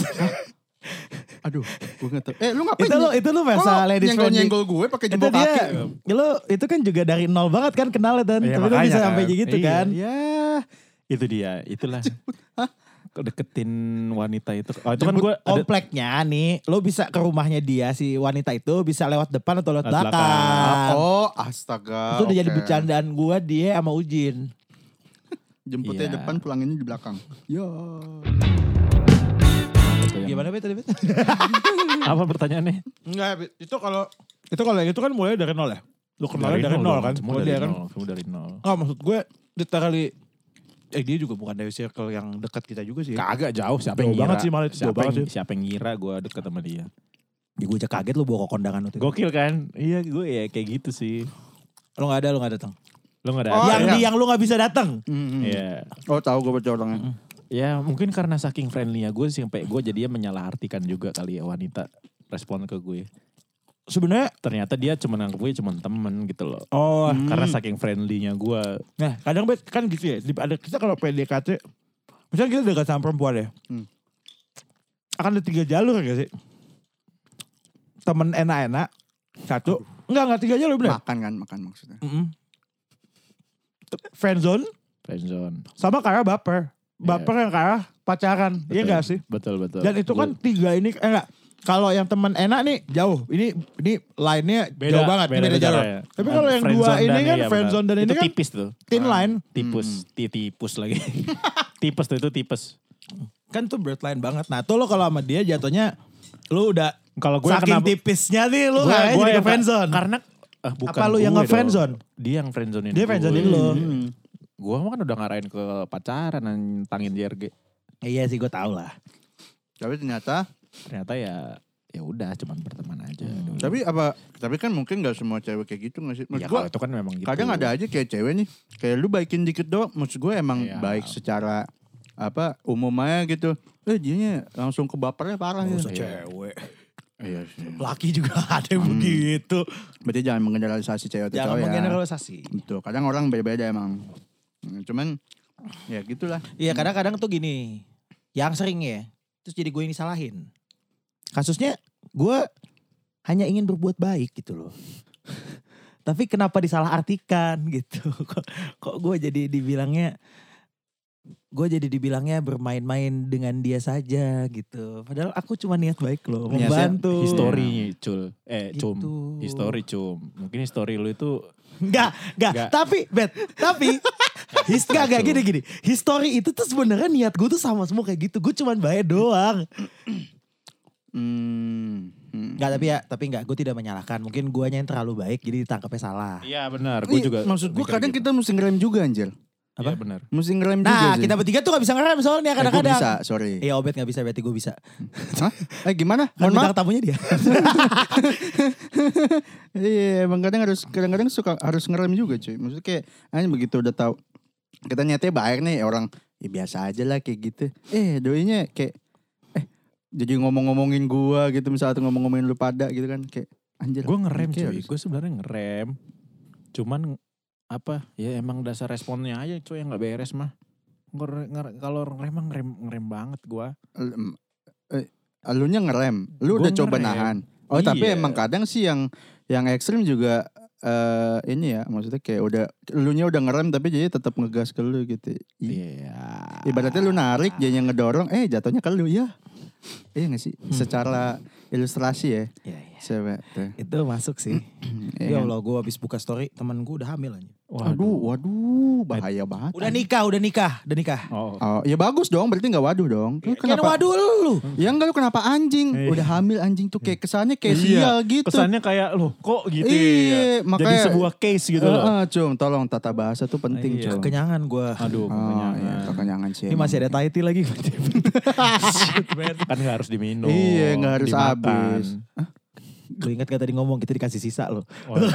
Speaker 1: Aduh, gue gak tau. Eh, lu ngapain?
Speaker 3: itu lu itu lu versa ladies
Speaker 1: friendly.
Speaker 3: friendly.
Speaker 1: Nyenggol gue pakai
Speaker 3: Itu
Speaker 1: jempol
Speaker 3: dia,
Speaker 1: kaki.
Speaker 3: lu itu kan juga dari nol banget kan kenal dan tapi
Speaker 4: Iya,
Speaker 3: lu
Speaker 4: makanya
Speaker 3: bisa
Speaker 4: kan.
Speaker 3: sampai gitu
Speaker 4: Iya,
Speaker 3: kan.
Speaker 4: Iya. Itu dia, itulah. Deketin wanita itu. Oh, itu kan
Speaker 3: Jemput
Speaker 4: gue ada
Speaker 3: kompleknya nih, lu bisa ke rumahnya dia si wanita itu bisa lewat depan atau lewat
Speaker 4: Lewat belakang. Oh,
Speaker 3: belakang.
Speaker 1: Oh, astaga.
Speaker 3: itu udah jadi
Speaker 1: oke.
Speaker 3: bercandaan gua dia sama Ujin.
Speaker 1: Jemputnya
Speaker 4: Iya.
Speaker 1: depan, pulanginnya di belakang. Yo.
Speaker 4: itu yang-
Speaker 3: Gimana Bet tadi Bet?
Speaker 4: apa pertanyaannya?
Speaker 3: Enggak, itu kalau itu kalau itu kan mulai dari nol ya. Lu kan?
Speaker 4: dong, Semua kan? dari nol, semua dari nol.
Speaker 3: Oh maksud gue literally eh dia juga bukan dari circle yang dekat kita juga sih.
Speaker 4: Kagak jauh, siapa
Speaker 3: Jauh
Speaker 4: yang ngira?
Speaker 3: banget sih malah itu, jauh
Speaker 4: siapa,
Speaker 3: banget
Speaker 4: yang, siapa yang ngira gue deket sama dia?
Speaker 3: Ya, gue aja kaget lu bawa ke kondangan waktu itu.
Speaker 4: Gokil kan? Iya, gue ya kayak gitu sih.
Speaker 3: Lu gak ada, lu gak datang.
Speaker 4: Lo gak ada
Speaker 1: Oh,
Speaker 3: yang
Speaker 1: iya.
Speaker 3: di yang lu gak bisa datang.
Speaker 4: Iya.
Speaker 1: Oh, tahu gue baca orangnya.
Speaker 4: Ya mungkin karena saking friendly-nya gue sih sampai gue jadinya menyalahartikan juga kali ya wanita respon ke gue.
Speaker 3: Sebenarnya
Speaker 4: Ternyata dia cuma nganggep gue cuma temen gitu loh.
Speaker 3: oh
Speaker 4: Karena saking friendly-nya gue
Speaker 3: nah kadang bet kan gitu ya. di- Ada kita kalau PDKT misalnya kita dekat sama perempuan ya.
Speaker 1: Hmm.
Speaker 3: Akan ada tiga jalur gak sih? Temen enak-enak satu. Enggak, enggak tiga jalur bener.
Speaker 1: Makan kan, makan maksudnya.
Speaker 3: Mm-mm. Friendzone
Speaker 4: friendzone.
Speaker 3: sama karena baper.
Speaker 4: Iya.
Speaker 3: Baper yang karena pacaran. Iya
Speaker 4: Betul.
Speaker 3: gak sih?
Speaker 4: Betul betul.
Speaker 3: Dan itu kan tiga ini eh, enggak. Kalau yang teman enak nih jauh. Ini ini lainnya
Speaker 4: Beda, ya.
Speaker 3: jauh banget, beda, jalur.
Speaker 4: caranya.
Speaker 3: Tapi kalau yang dua
Speaker 4: Friendzone
Speaker 3: ini
Speaker 4: dan-
Speaker 3: kan
Speaker 4: iya,
Speaker 3: friendzone dan
Speaker 4: benar.
Speaker 3: ini
Speaker 4: Itu
Speaker 3: kan Hmm.
Speaker 4: tipis tuh.
Speaker 3: thin line.
Speaker 4: Tipus, Ti- tipus lagi. tipes tuh itu tipes.
Speaker 3: Kan tuh blurred line banget. Nah, tuh lo kalau sama dia jatuhnya lu udah
Speaker 4: Kalau gue
Speaker 3: saking
Speaker 4: kenapa-
Speaker 3: tipisnya nih lu
Speaker 4: Gua-
Speaker 3: kayaknya
Speaker 4: gua
Speaker 3: jadi ke
Speaker 4: yang-
Speaker 3: friendzone.
Speaker 4: Karena eh, bukan
Speaker 3: Apa lu yang
Speaker 4: gue
Speaker 3: nge-friendzone?
Speaker 4: dong. Dia yang friendzone
Speaker 3: Dia friendzonein lo.
Speaker 4: Gue kan udah ngarahin ke pacaran nantangin JRG.
Speaker 3: Iya sih gue tau lah.
Speaker 1: Tapi ternyata
Speaker 4: Ternyata ya
Speaker 3: ya udah cuman berteman aja dulu.
Speaker 1: Tapi apa? Tapi kan mungkin gak semua cewek kayak gitu nggak sih? Maksud
Speaker 4: ya
Speaker 1: gua,
Speaker 4: kalau itu kan memang gitu.
Speaker 1: kadang ada aja kayak cewek nih kayak lu baikin dikit doang maksud gue emang
Speaker 4: Iya.
Speaker 1: baik secara apa umumnya gitu eh dianya langsung kebapernya parah ya
Speaker 4: cewek. Hmm.
Speaker 1: iya sih
Speaker 3: Laki juga ada yang begitu.
Speaker 1: berarti jangan menggeneralisasi cewek atau
Speaker 2: Jangan
Speaker 1: cowok ya
Speaker 2: menggeneralisasi.
Speaker 1: Betul, kadang orang beda-beda emang Hmm, cuman ya gitulah
Speaker 2: Iya
Speaker 4: Hmm.
Speaker 2: kadang-kadang tuh gini. Yang sering ya. Terus jadi gue yang disalahin.
Speaker 3: Kasusnya gue hanya ingin berbuat baik gitu loh. Tapi kenapa disalahartikan gitu? Kok, kok gue jadi dibilangnya gue jadi dibilangnya bermain-main dengan dia saja gitu. Padahal aku cuma niat baik loh,
Speaker 1: Niatnya
Speaker 3: membantu.
Speaker 4: History cul. Eh, cum.
Speaker 3: Gitu.
Speaker 4: History cum. Mungkin history lu itu
Speaker 3: Enggak, enggak.
Speaker 4: Nggak.
Speaker 3: Tapi, Bet, tapi His, gak, gak, gini, gini. History itu tuh sebenarnya niat gue tuh sama semua kayak gitu. Gue cuman baik doang.
Speaker 1: hmm, hmm.
Speaker 2: Enggak tapi ya. Tapi enggak. Gue tidak menyalahkan. Mungkin guanya yang terlalu baik. Jadi ditangkapnya salah.
Speaker 4: Iya benar, gue
Speaker 1: Iya,
Speaker 4: juga.
Speaker 1: maksud gue
Speaker 4: mikir
Speaker 1: kadang
Speaker 4: gitu.
Speaker 1: kita mesti ngerem juga anjir
Speaker 4: Iya benar.
Speaker 1: mesti ngerem juga
Speaker 2: Nah
Speaker 1: sih.
Speaker 2: kita bertiga tuh gak bisa ngerem soalnya
Speaker 1: Eh, gua
Speaker 2: kadang-kadang.
Speaker 1: bisa sorry
Speaker 2: Iya Obet gak bisa berarti gue bisa.
Speaker 1: Hah? eh gimana
Speaker 3: Kan
Speaker 1: mohon maaf
Speaker 3: bintang tamunya dia.
Speaker 1: Iya, emang kadang harus kadang-kadang suka harus ngerem juga cuy. Maksudnya kayak anjing begitu udah tahu kita niatnya baik nih orang ya biasa aja lah kayak gitu. Eh doinya kayak eh jadi ngomong-ngomongin gua gitu misalnya atau ngomong-ngomongin lu pada gitu kan kayak anjir.
Speaker 4: Gue ngerem
Speaker 1: Oke,
Speaker 4: cuy,
Speaker 1: harus.
Speaker 4: gue sebenarnya ngerem. Cuman apa ya emang dasar responnya aja cuy yang gak beres mah. Nger- nger- Kalau ngerem mah ngerem, ngerem banget gue.
Speaker 1: L- em, eh, Elunya ngerem. Lu
Speaker 4: Gua
Speaker 1: udah coba
Speaker 4: ngerem.
Speaker 1: nahan. Oh, tapi
Speaker 4: Iya.
Speaker 1: emang kadang sih yang yang ekstrim juga eh ini ya maksudnya kayak udah elunya udah ngerem tapi jadi tetap ngegas ke lu gitu. Iya.
Speaker 4: Iya.
Speaker 1: Ibaratnya lu narik, dia yang ngedorong, eh jatuhnya ke lu ya. Iya gak sih?
Speaker 4: Hmm.
Speaker 1: Secara ilustrasi ya.
Speaker 2: Iya iya.
Speaker 1: Coba tuh.
Speaker 3: itu masuk sih.
Speaker 2: Ya
Speaker 3: Iya.
Speaker 2: Allah gue habis buka story. Temen gue udah hamil aja.
Speaker 1: Waduh, waduh, bahaya banget.
Speaker 2: Udah nikah. Udah nikah. Udah nikah.
Speaker 4: Oh,
Speaker 1: Oh, ya bagus dong, berarti gak waduh dong. Lu
Speaker 2: Kan
Speaker 1: kenapa?
Speaker 2: waduh lu.
Speaker 1: Ya enggak lu kenapa anjing?
Speaker 4: Iya.
Speaker 1: Udah hamil anjing tuh kayak kesannya kayak
Speaker 4: Iya,
Speaker 1: sial gitu.
Speaker 4: Kesannya kayak loh kok gitu
Speaker 1: Iya,
Speaker 4: ya. Jadi
Speaker 1: makanya-
Speaker 4: sebuah case gitu loh.
Speaker 1: Heeh, Cum, tolong tata bahasa tuh penting,
Speaker 4: Iya.
Speaker 1: Cum.
Speaker 2: Kenyangan gue.
Speaker 4: Aduh,
Speaker 1: Oh,
Speaker 4: kekenyangan.
Speaker 1: iya, kekenyangan sih.
Speaker 3: Ini
Speaker 1: emang.
Speaker 3: masih ada Taiti lagi.
Speaker 4: kan nggak harus diminum.
Speaker 1: Iya, nggak harus
Speaker 4: dimakan.
Speaker 1: habis.
Speaker 3: Lu ingat gak tadi ngomong kita dikasih sisa loh.
Speaker 4: Waduh.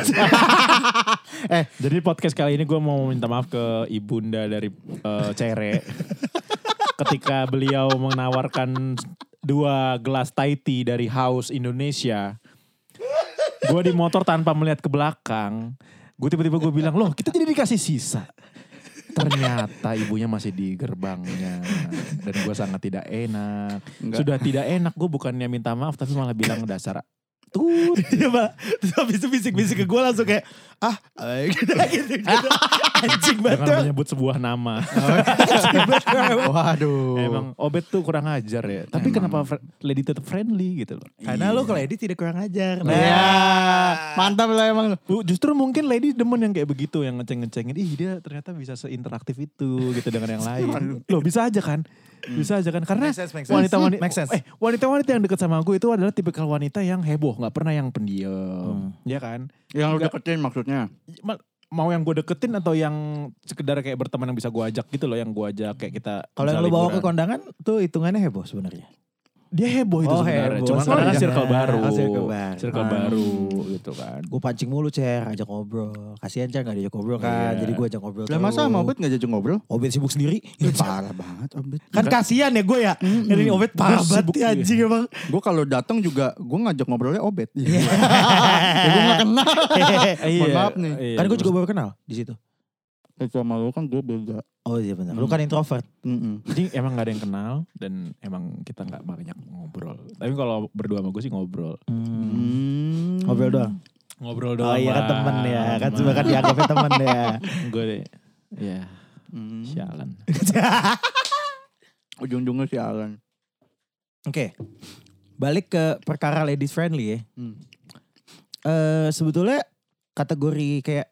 Speaker 4: eh, jadi podcast kali ini gue mau minta maaf ke ibunda dari eh, Cere. Ketika beliau menawarkan dua gelas Thai tea dari House Indonesia, gue di motor tanpa melihat ke belakang, gue tiba-tiba gue bilang, loh kita jadi dikasih sisa. Ternyata ibunya masih di gerbangnya dan gue sangat tidak enak.
Speaker 1: Nggak.
Speaker 4: Sudah tidak enak gue bukannya minta maaf tapi malah bilang dasar
Speaker 3: Tut. Iya, Pak. Terus habis itu bisik-bisik ke gue langsung kayak, ah, eh, gitu, gitu, gitu. Anjing banget.
Speaker 4: jangan menyebut sebuah nama.
Speaker 1: Waduh.
Speaker 4: Emang Obet tuh kurang ajar ya. Tapi kenapa fr- Lady tetap friendly gitu loh.
Speaker 3: Karena lu kalau edit tidak kurang ajar. Nah,
Speaker 1: Iya. Mantap lah emang.
Speaker 4: Bu, Justru mungkin Lady demen yang kayak begitu yang ngeceng-ngecengin. Ih dia ternyata bisa seinteraktif itu gitu dengan yang lain. Loh bisa aja kan? Bisa aja kan? Karena
Speaker 2: Hmm. Make sense, make sense.
Speaker 4: wanita-wanita
Speaker 2: Make sense.
Speaker 4: eh, wanita-wanita yang deket sama gue itu adalah tipikal wanita yang heboh, nggak pernah yang
Speaker 2: Hmm.
Speaker 4: pendiam. Ya kan?
Speaker 1: Yang lu deketin maksudnya.
Speaker 4: Ma- Mau yang gue deketin atau yang sekedar kayak berteman yang bisa gue ajak gitu loh, yang gue ajak kayak kita
Speaker 2: Kalau yang
Speaker 4: bisa
Speaker 2: lu bawa ke
Speaker 4: liburan.
Speaker 2: kondangan tuh hitungannya heboh sebenarnya.
Speaker 4: dia heboh itu
Speaker 2: Oh,
Speaker 4: sebenarnya.
Speaker 2: heboh.
Speaker 4: Cuma
Speaker 2: Sorry,
Speaker 4: karena
Speaker 3: iya.
Speaker 2: jangan.
Speaker 4: circle baru.
Speaker 2: Oh, circle baru.
Speaker 4: Circle
Speaker 3: Ah.
Speaker 4: baru gitu kan.
Speaker 2: Gue pancing mulu cer, ajak ngobrol. Kasihan cer gak diajak ngobrol kan,
Speaker 4: Iya.
Speaker 2: jadi gue ajak ngobrol.
Speaker 1: Lah masa
Speaker 2: terus.
Speaker 1: sama Obet gak jadi ngobrol?
Speaker 2: Obet sibuk sendiri.
Speaker 1: Ih, parah banget Obet.
Speaker 3: kan kasihan ya gue ya. Ini Obet parah
Speaker 4: Gua
Speaker 3: banget
Speaker 4: sibuk,
Speaker 3: ya,
Speaker 4: iya.
Speaker 3: anjing emang.
Speaker 1: Gue kalau datang juga gue ngajak ngobrolnya Obet. Iya. gue gak kenal. Mohon maaf nih.
Speaker 4: Iya,
Speaker 2: kan gue juga baru kenal di situ.
Speaker 1: Eh, sama lu kan gue beda.
Speaker 2: Oh iya benar. Lu
Speaker 3: Hmm.
Speaker 2: kan introvert.
Speaker 1: Mm-mm.
Speaker 4: Jadi emang gak ada yang kenal dan emang kita gak banyak ngobrol. Tapi kalau berdua sama gue sih ngobrol.
Speaker 1: Hmm.
Speaker 3: Ngobrol doang.
Speaker 4: Ngobrol
Speaker 3: Oh iya kan temen ya, kan
Speaker 2: iya.
Speaker 3: cuma kan dianggapnya temen ya.
Speaker 4: Gue deh. Ya,
Speaker 1: Hmm.
Speaker 4: sialan.
Speaker 1: Ujung-ujungnya sialan.
Speaker 2: Oke. Balik ke perkara ladies friendly ya.
Speaker 1: Hmm.
Speaker 2: Eh sebetulnya kategori kayak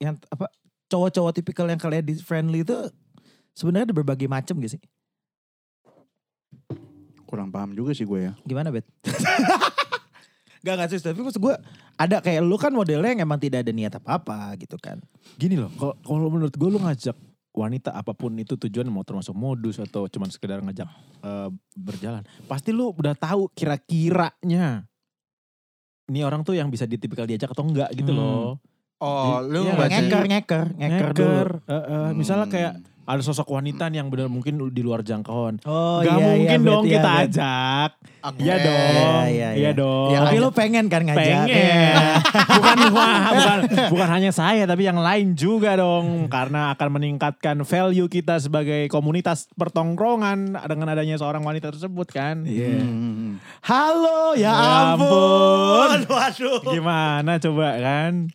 Speaker 2: yang apa cowok-cowok tipikal yang ke ladies friendly itu sebenarnya ada berbagai macam gak sih?
Speaker 1: Kurang paham juga sih gue ya.
Speaker 2: Gimana bet? Gak gak sih, tapi maksud gue ada kayak lu kan modelnya yang emang tidak ada niat apa-apa gitu kan.
Speaker 4: Gini loh, kalau- kalau menurut gue lu ngajak wanita apapun itu tujuan mau termasuk modus atau cuman sekedar ngajak eh, berjalan. Pasti lu udah tahu kira-kiranya. ini orang tuh yang bisa ditipikal diajak atau enggak gitu
Speaker 3: Hmm.
Speaker 4: loh.
Speaker 1: Oh, lu
Speaker 4: Iya,
Speaker 1: baca
Speaker 3: ngeker, ngeker, ngeker dulu. Hmm.
Speaker 4: Ngeker, eh, eh, misalnya kayak ada sosok wanita nih yang benar mungkin di luar jangkauan.
Speaker 3: Oh iya,
Speaker 4: Gak
Speaker 3: iya,
Speaker 4: mungkin
Speaker 3: berarti
Speaker 4: dong
Speaker 3: ya,
Speaker 4: kita
Speaker 3: berarti.
Speaker 4: ajak.
Speaker 1: Aku-
Speaker 4: Iya
Speaker 1: Eh,
Speaker 4: dong.
Speaker 3: Iya,
Speaker 4: Iya,
Speaker 3: iya, iya.
Speaker 4: dong.
Speaker 3: Tapi lu pengen kan ngajak?
Speaker 4: pengen. bukan, bukan, bukan, bukan hanya saya tapi yang lain juga dong. Karena akan meningkatkan value kita sebagai komunitas pertongkrongan dengan adanya seorang wanita tersebut kan.
Speaker 1: Hmm.
Speaker 3: Halo, Iya. ya,
Speaker 4: Ya
Speaker 3: ampun.
Speaker 4: ampun.
Speaker 3: Waduh.
Speaker 4: Gimana coba kan?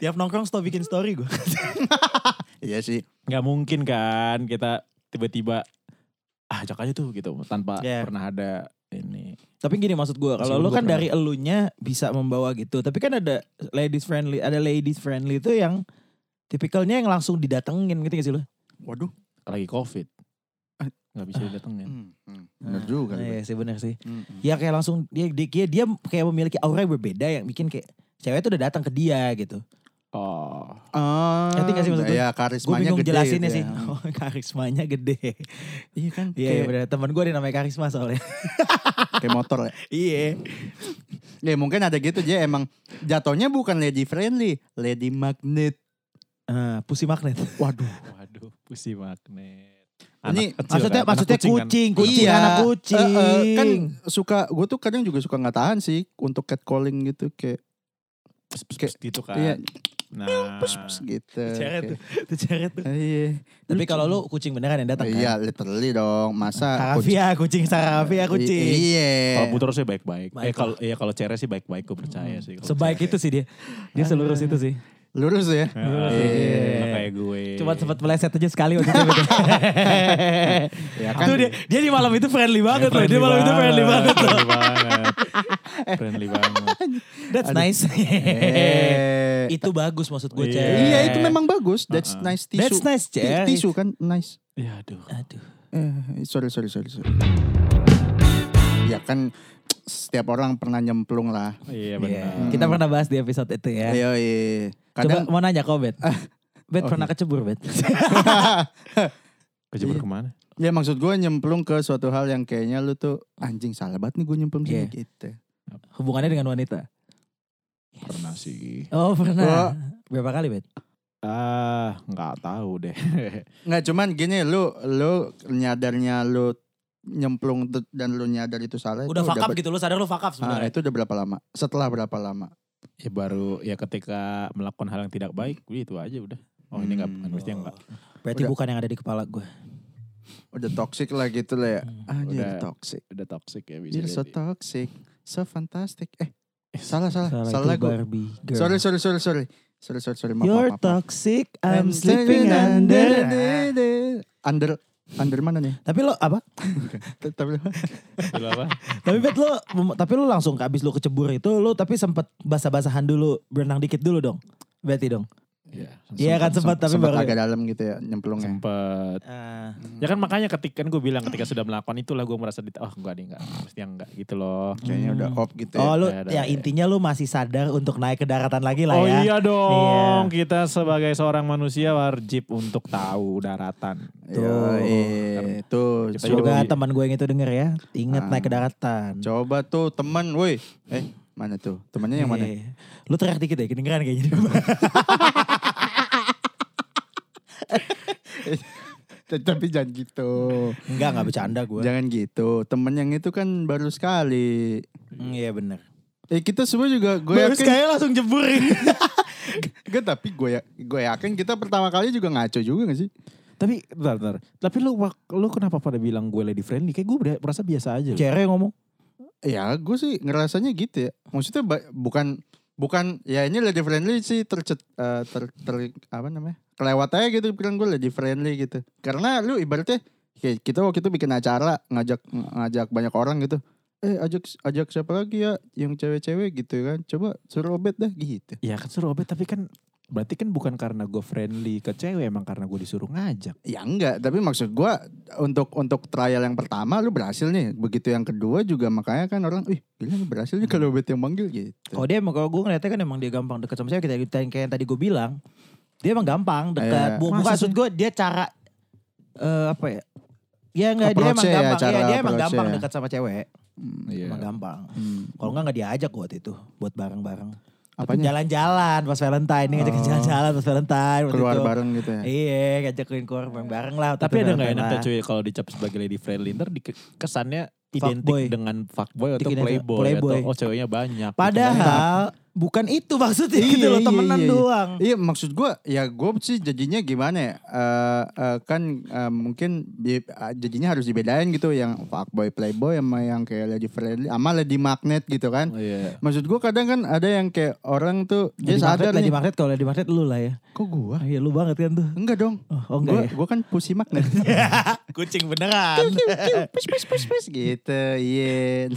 Speaker 3: Tiap nongkrong stop bikin story gue.
Speaker 1: Iya sih.
Speaker 4: nggak mungkin kan kita tiba-tiba ah ajak aja tuh gitu tanpa
Speaker 3: Iya.
Speaker 4: pernah ada ini
Speaker 3: Tapi gini maksud gue, kalau
Speaker 4: Meskipun
Speaker 3: lu
Speaker 4: gua
Speaker 3: kan
Speaker 4: pernah.
Speaker 3: dari elunya bisa membawa gitu. Tapi kan ada ladies friendly, ada ladies friendly itu yang tipikalnya yang langsung didatengin gitu gak sih lu?
Speaker 1: Waduh.
Speaker 4: lagi covid
Speaker 3: Ah.
Speaker 4: nggak bisa didatengin
Speaker 1: Hmm. hmm. Bener juga.
Speaker 3: Nah,
Speaker 1: Iya.
Speaker 3: Iya sih bener sih. Ya kayak langsung dia dia dia, dia kayak memiliki aura yang berbeda yang bikin kayak cewek itu udah datang ke dia gitu.
Speaker 4: oh
Speaker 1: Ah,
Speaker 3: Ngerti nggak sih maksud gue?
Speaker 1: Ya,
Speaker 3: Gue
Speaker 1: karismanya
Speaker 3: bingung
Speaker 1: gede.
Speaker 3: jelasinnya
Speaker 1: gitu
Speaker 3: sih.
Speaker 1: ya.
Speaker 3: Oh, karismanya gede.
Speaker 1: Iya kan?
Speaker 3: Iya
Speaker 1: kayak,
Speaker 3: bener. Temen gue ada namanya karisma soalnya.
Speaker 1: kayak motor ya.
Speaker 3: iya.
Speaker 1: Ya mungkin ada gitu aja emang jatuhnya bukan lady friendly, lady magnet.
Speaker 3: Eh, pussy magnet. Waduh.
Speaker 4: waduh pusi magnet
Speaker 1: Ini-
Speaker 3: Maksudnya
Speaker 4: kan? Anak
Speaker 3: maksudnya kucing,
Speaker 4: kan?
Speaker 3: kucing, anak kucing.
Speaker 1: Eh, eh, kan suka gue tuh kadang juga suka nggak tahan sih untuk catcalling gitu kayak
Speaker 4: Pus, pus,
Speaker 1: Kayak-
Speaker 4: pus gitu kan
Speaker 1: iya
Speaker 4: nah
Speaker 1: pus, pus gitu.
Speaker 3: Ceret
Speaker 1: Kayak,
Speaker 3: tuh, tuh ceret tuh.
Speaker 1: Iya.
Speaker 3: Tapi kalau lu kucing beneran yang datang
Speaker 1: Iya,
Speaker 3: kan?
Speaker 1: literally dong. Masa
Speaker 3: Sarafia kucing, Sarafia
Speaker 1: I-
Speaker 3: kucing.
Speaker 1: Iya.
Speaker 4: kalau puter sih baik-baik eh
Speaker 3: Baik Hmm.
Speaker 4: kalau ya kalau cere sih baik-baik gue percaya sih kalau
Speaker 3: Sebaik
Speaker 4: cere.
Speaker 3: itu sih dia. Dia selurus itu sih.
Speaker 1: Lurus ya. Iya.
Speaker 4: Ya, nggak kayak gue
Speaker 3: Cuma sempat meleset aja sekali waktu itu.
Speaker 1: Ya kan.
Speaker 3: Tuh dia, dia di malam itu friendly banget loh. Dia
Speaker 4: Iya Friendly
Speaker 3: malam itu friendly banget loh.
Speaker 4: friendly banget friendly banget
Speaker 3: That's nice.
Speaker 1: Eh,
Speaker 3: itu bagus maksud gue, Cek.
Speaker 1: Iya, itu memang bagus. That's nice tisu.
Speaker 3: That's nice,
Speaker 1: Ti-
Speaker 3: Cer.
Speaker 1: Tisu kan nice.
Speaker 4: ya aduh
Speaker 3: Aduh.
Speaker 1: Eh, sorry, sorry, sorry, sorry. Ya kan setiap orang pernah nyemplung lah.
Speaker 3: Iya.
Speaker 4: iya benar
Speaker 3: Kita pernah bahas di episode itu ya.
Speaker 1: Iya, iya.
Speaker 3: Coba
Speaker 1: Kadang Ah. Oh, iya.
Speaker 3: mau nanya kau, Bet. Bet pernah kecebur, Bet.
Speaker 4: kejebur kemana
Speaker 1: ya maksud gue nyemplung ke suatu hal yang kayaknya lu tuh anjing salah banget nih gue nyemplung sini
Speaker 3: Iya.
Speaker 1: gitu.
Speaker 3: Hubungannya dengan wanita.
Speaker 4: pernah sih
Speaker 3: Oh,
Speaker 1: Gua-
Speaker 3: pernah. Berapa kali, Bet?
Speaker 4: Ah, nggak tahu deh.
Speaker 1: Nggak cuman gini lu lu nyadarnya lu nyemplung tuh dan lu nyadar itu salah itu
Speaker 3: Udah fuck up
Speaker 1: ber-
Speaker 3: gitu, lu sadar lu fuck up
Speaker 1: Ah,
Speaker 3: sebenarnya.
Speaker 1: itu udah berapa lama? Setelah berapa lama?
Speaker 4: ya baru ya ketika melakukan hal yang tidak baik, wih, itu aja udah. Oh ini nggak,
Speaker 1: Hmm.
Speaker 4: harusnya nggak.
Speaker 3: Berarti
Speaker 1: Udah.
Speaker 3: bukan yang ada di kepala gue.
Speaker 1: Udah toxic lah gitu lah ya.
Speaker 3: Hmm.
Speaker 1: Anjir
Speaker 4: Udah.
Speaker 1: toxic.
Speaker 4: Udah toxic ya bisa
Speaker 1: You're so
Speaker 4: jadi.
Speaker 1: toxic. So fantastic. Eh, salah salah. Salah,
Speaker 3: Salah itu
Speaker 1: gue.
Speaker 3: Barbie girl.
Speaker 1: Sorry sorry sorry sorry. Sorry sorry sorry. Maaf,
Speaker 3: You're
Speaker 1: maaf, maaf.
Speaker 3: toxic, I'm sleeping under.
Speaker 1: Under under mana nih?
Speaker 3: Tapi lo apa?
Speaker 1: Tapi
Speaker 4: Dulu Gitu apa?
Speaker 3: tapi bet lo, tapi lo langsung ke- abis lo kecebur itu, lo tapi sempet basah-basahan dulu, berenang dikit dulu dong. Berarti dong.
Speaker 4: Iya.
Speaker 3: Iya kan sempat, tapi
Speaker 1: sempat
Speaker 3: baru.
Speaker 1: agak dalam gitu ya nyemplungnya.
Speaker 4: Sempet.
Speaker 3: Ah.
Speaker 4: Ya kan makanya ketika gue bilang ketika sudah melakukan itulah gue merasa dita, oh gue nih nggak, mestinya nggak gitu loh.
Speaker 1: Kayaknya udah off gitu ya.
Speaker 3: Oh lu
Speaker 4: Iya, Ada,
Speaker 3: ya
Speaker 4: ada.
Speaker 3: intinya lu masih sadar untuk naik ke daratan lagi lah
Speaker 4: Oh
Speaker 3: ya.
Speaker 4: iya dong, kita sebagai seorang manusia wajib untuk tahu daratan.
Speaker 1: Yoi, tuh. coba-
Speaker 4: Kita
Speaker 3: Semoga
Speaker 4: Jadi- Ah.
Speaker 3: teman gue yang itu denger ya. Ingat naik ke daratan.
Speaker 1: Coba tuh teman, woi. Eh, mana tuh? Temannya yang mana?
Speaker 3: Iya. Lu teriak dikit ya, kedengeran kayaknya. di rumah.
Speaker 1: Tapi jangan gitu.
Speaker 3: Enggak, enggak bercanda gue.
Speaker 1: Jangan gitu. Temen yang itu kan baru sekali.
Speaker 3: Hmm, Iya bener.
Speaker 1: Eh kita semua juga gue
Speaker 3: Baru
Speaker 1: yakin.
Speaker 3: sekali langsung jebur.
Speaker 1: Enggak, tapi gue ya- gue yakin kita pertama kali juga ngaco juga gak sih?
Speaker 4: Tapi bentar, bentar. Tapi lu wak- lu kenapa pada bilang gue lady friendly? Kayak gue udah- merasa biasa aja. loh.
Speaker 3: Cere ngomong.
Speaker 1: Ya gue sih ngerasanya gitu ya. Maksudnya ba- bukan bukan ya ini lady friendly sih tercet eh, ter, ter- apa namanya kelewat aja gitu bilang gue lady friendly gitu. Karena lu ibaratnya kayak kita waktu itu bikin acara ngajak ngajak banyak orang gitu. Eh ajak ajak siapa lagi ya yang cewek-cewek gitu kan. Coba suruh obet dah gitu.
Speaker 4: Ya kan suruh obet tapi kan berarti kan bukan karena gue friendly ke cewek emang karena gue disuruh ngajak.
Speaker 1: Ya enggak, tapi maksud gue untuk untuk trial yang pertama lu berhasil nih. Begitu yang kedua juga makanya kan orang, ih gila nih berhasil nih kalau obet yang manggil gitu.
Speaker 3: Kalau dia emang kalau gue ngeliatnya kan emang dia gampang dekat sama saya. Kita kita- kayak yang tadi gue bilang. Dia emang gampang
Speaker 1: Iya.
Speaker 3: dekat. Bu- Bukan
Speaker 4: Masa
Speaker 3: maksud gue dia cara eh, apa ya? Ya enggak dia emang
Speaker 1: Approach-nya ya,
Speaker 3: gampang.
Speaker 1: cara
Speaker 3: Iya, dia emang
Speaker 1: approach-nya
Speaker 3: gampang
Speaker 1: ya.
Speaker 3: dekat sama cewek.
Speaker 4: Iya.
Speaker 3: Emang gampang.
Speaker 1: Hmm.
Speaker 3: Kalau enggak enggak diajak gua waktu itu buat bareng-bareng. Tapi
Speaker 1: Apanya?
Speaker 3: Jalan-jalan pas Valentine nih ngajakin
Speaker 1: Oh.
Speaker 3: jalan-jalan pas Valentine waktu
Speaker 1: Keluar
Speaker 3: itu.
Speaker 1: bareng gitu ya.
Speaker 3: Iya, ngajakin keluar bareng-bareng lah. waktu
Speaker 4: Tapi
Speaker 3: itu
Speaker 4: ada nggak
Speaker 3: Valentine
Speaker 4: enaknya
Speaker 3: lah.
Speaker 4: cuy kalau dicap sebagai lady friendly ntar di kesannya identik
Speaker 3: Fuckboy.
Speaker 4: dengan fuckboy
Speaker 3: Identik
Speaker 4: atau
Speaker 3: dengan
Speaker 4: playboy,
Speaker 3: playboy.
Speaker 4: atau oh ceweknya banyak. gitu.
Speaker 3: Padahal bukan itu maksudnya
Speaker 1: Iya,
Speaker 3: gitu loh,
Speaker 1: iya, iya,
Speaker 3: temenan
Speaker 1: iya.
Speaker 3: doang.
Speaker 1: Iya maksud gue ya gue sih jadinya gimana ya Eh, eh, kan eh, mungkin di- eh, jadinya harus dibedain gitu yang fuckboy playboy sama yang kayak lady friendly sama lady magnet gitu kan.
Speaker 4: Oh, Iya.
Speaker 1: Maksud gue kadang kan ada yang kayak orang tuh dia
Speaker 3: Lady Magnet,
Speaker 1: sadar
Speaker 3: Lady
Speaker 1: nih.
Speaker 3: Magnet kalau Lady Magnet lu lah ya.
Speaker 1: Kok gue?
Speaker 3: Wah, ya lu banget kan tuh.
Speaker 1: Enggak dong.
Speaker 3: Oh, oh
Speaker 1: gue
Speaker 3: enggak ya.
Speaker 1: kan pussy magnet.
Speaker 4: Iya.
Speaker 3: Kucing beneran.
Speaker 1: Kiu, kiu, pus, pus, pus, pus, gitu, iya.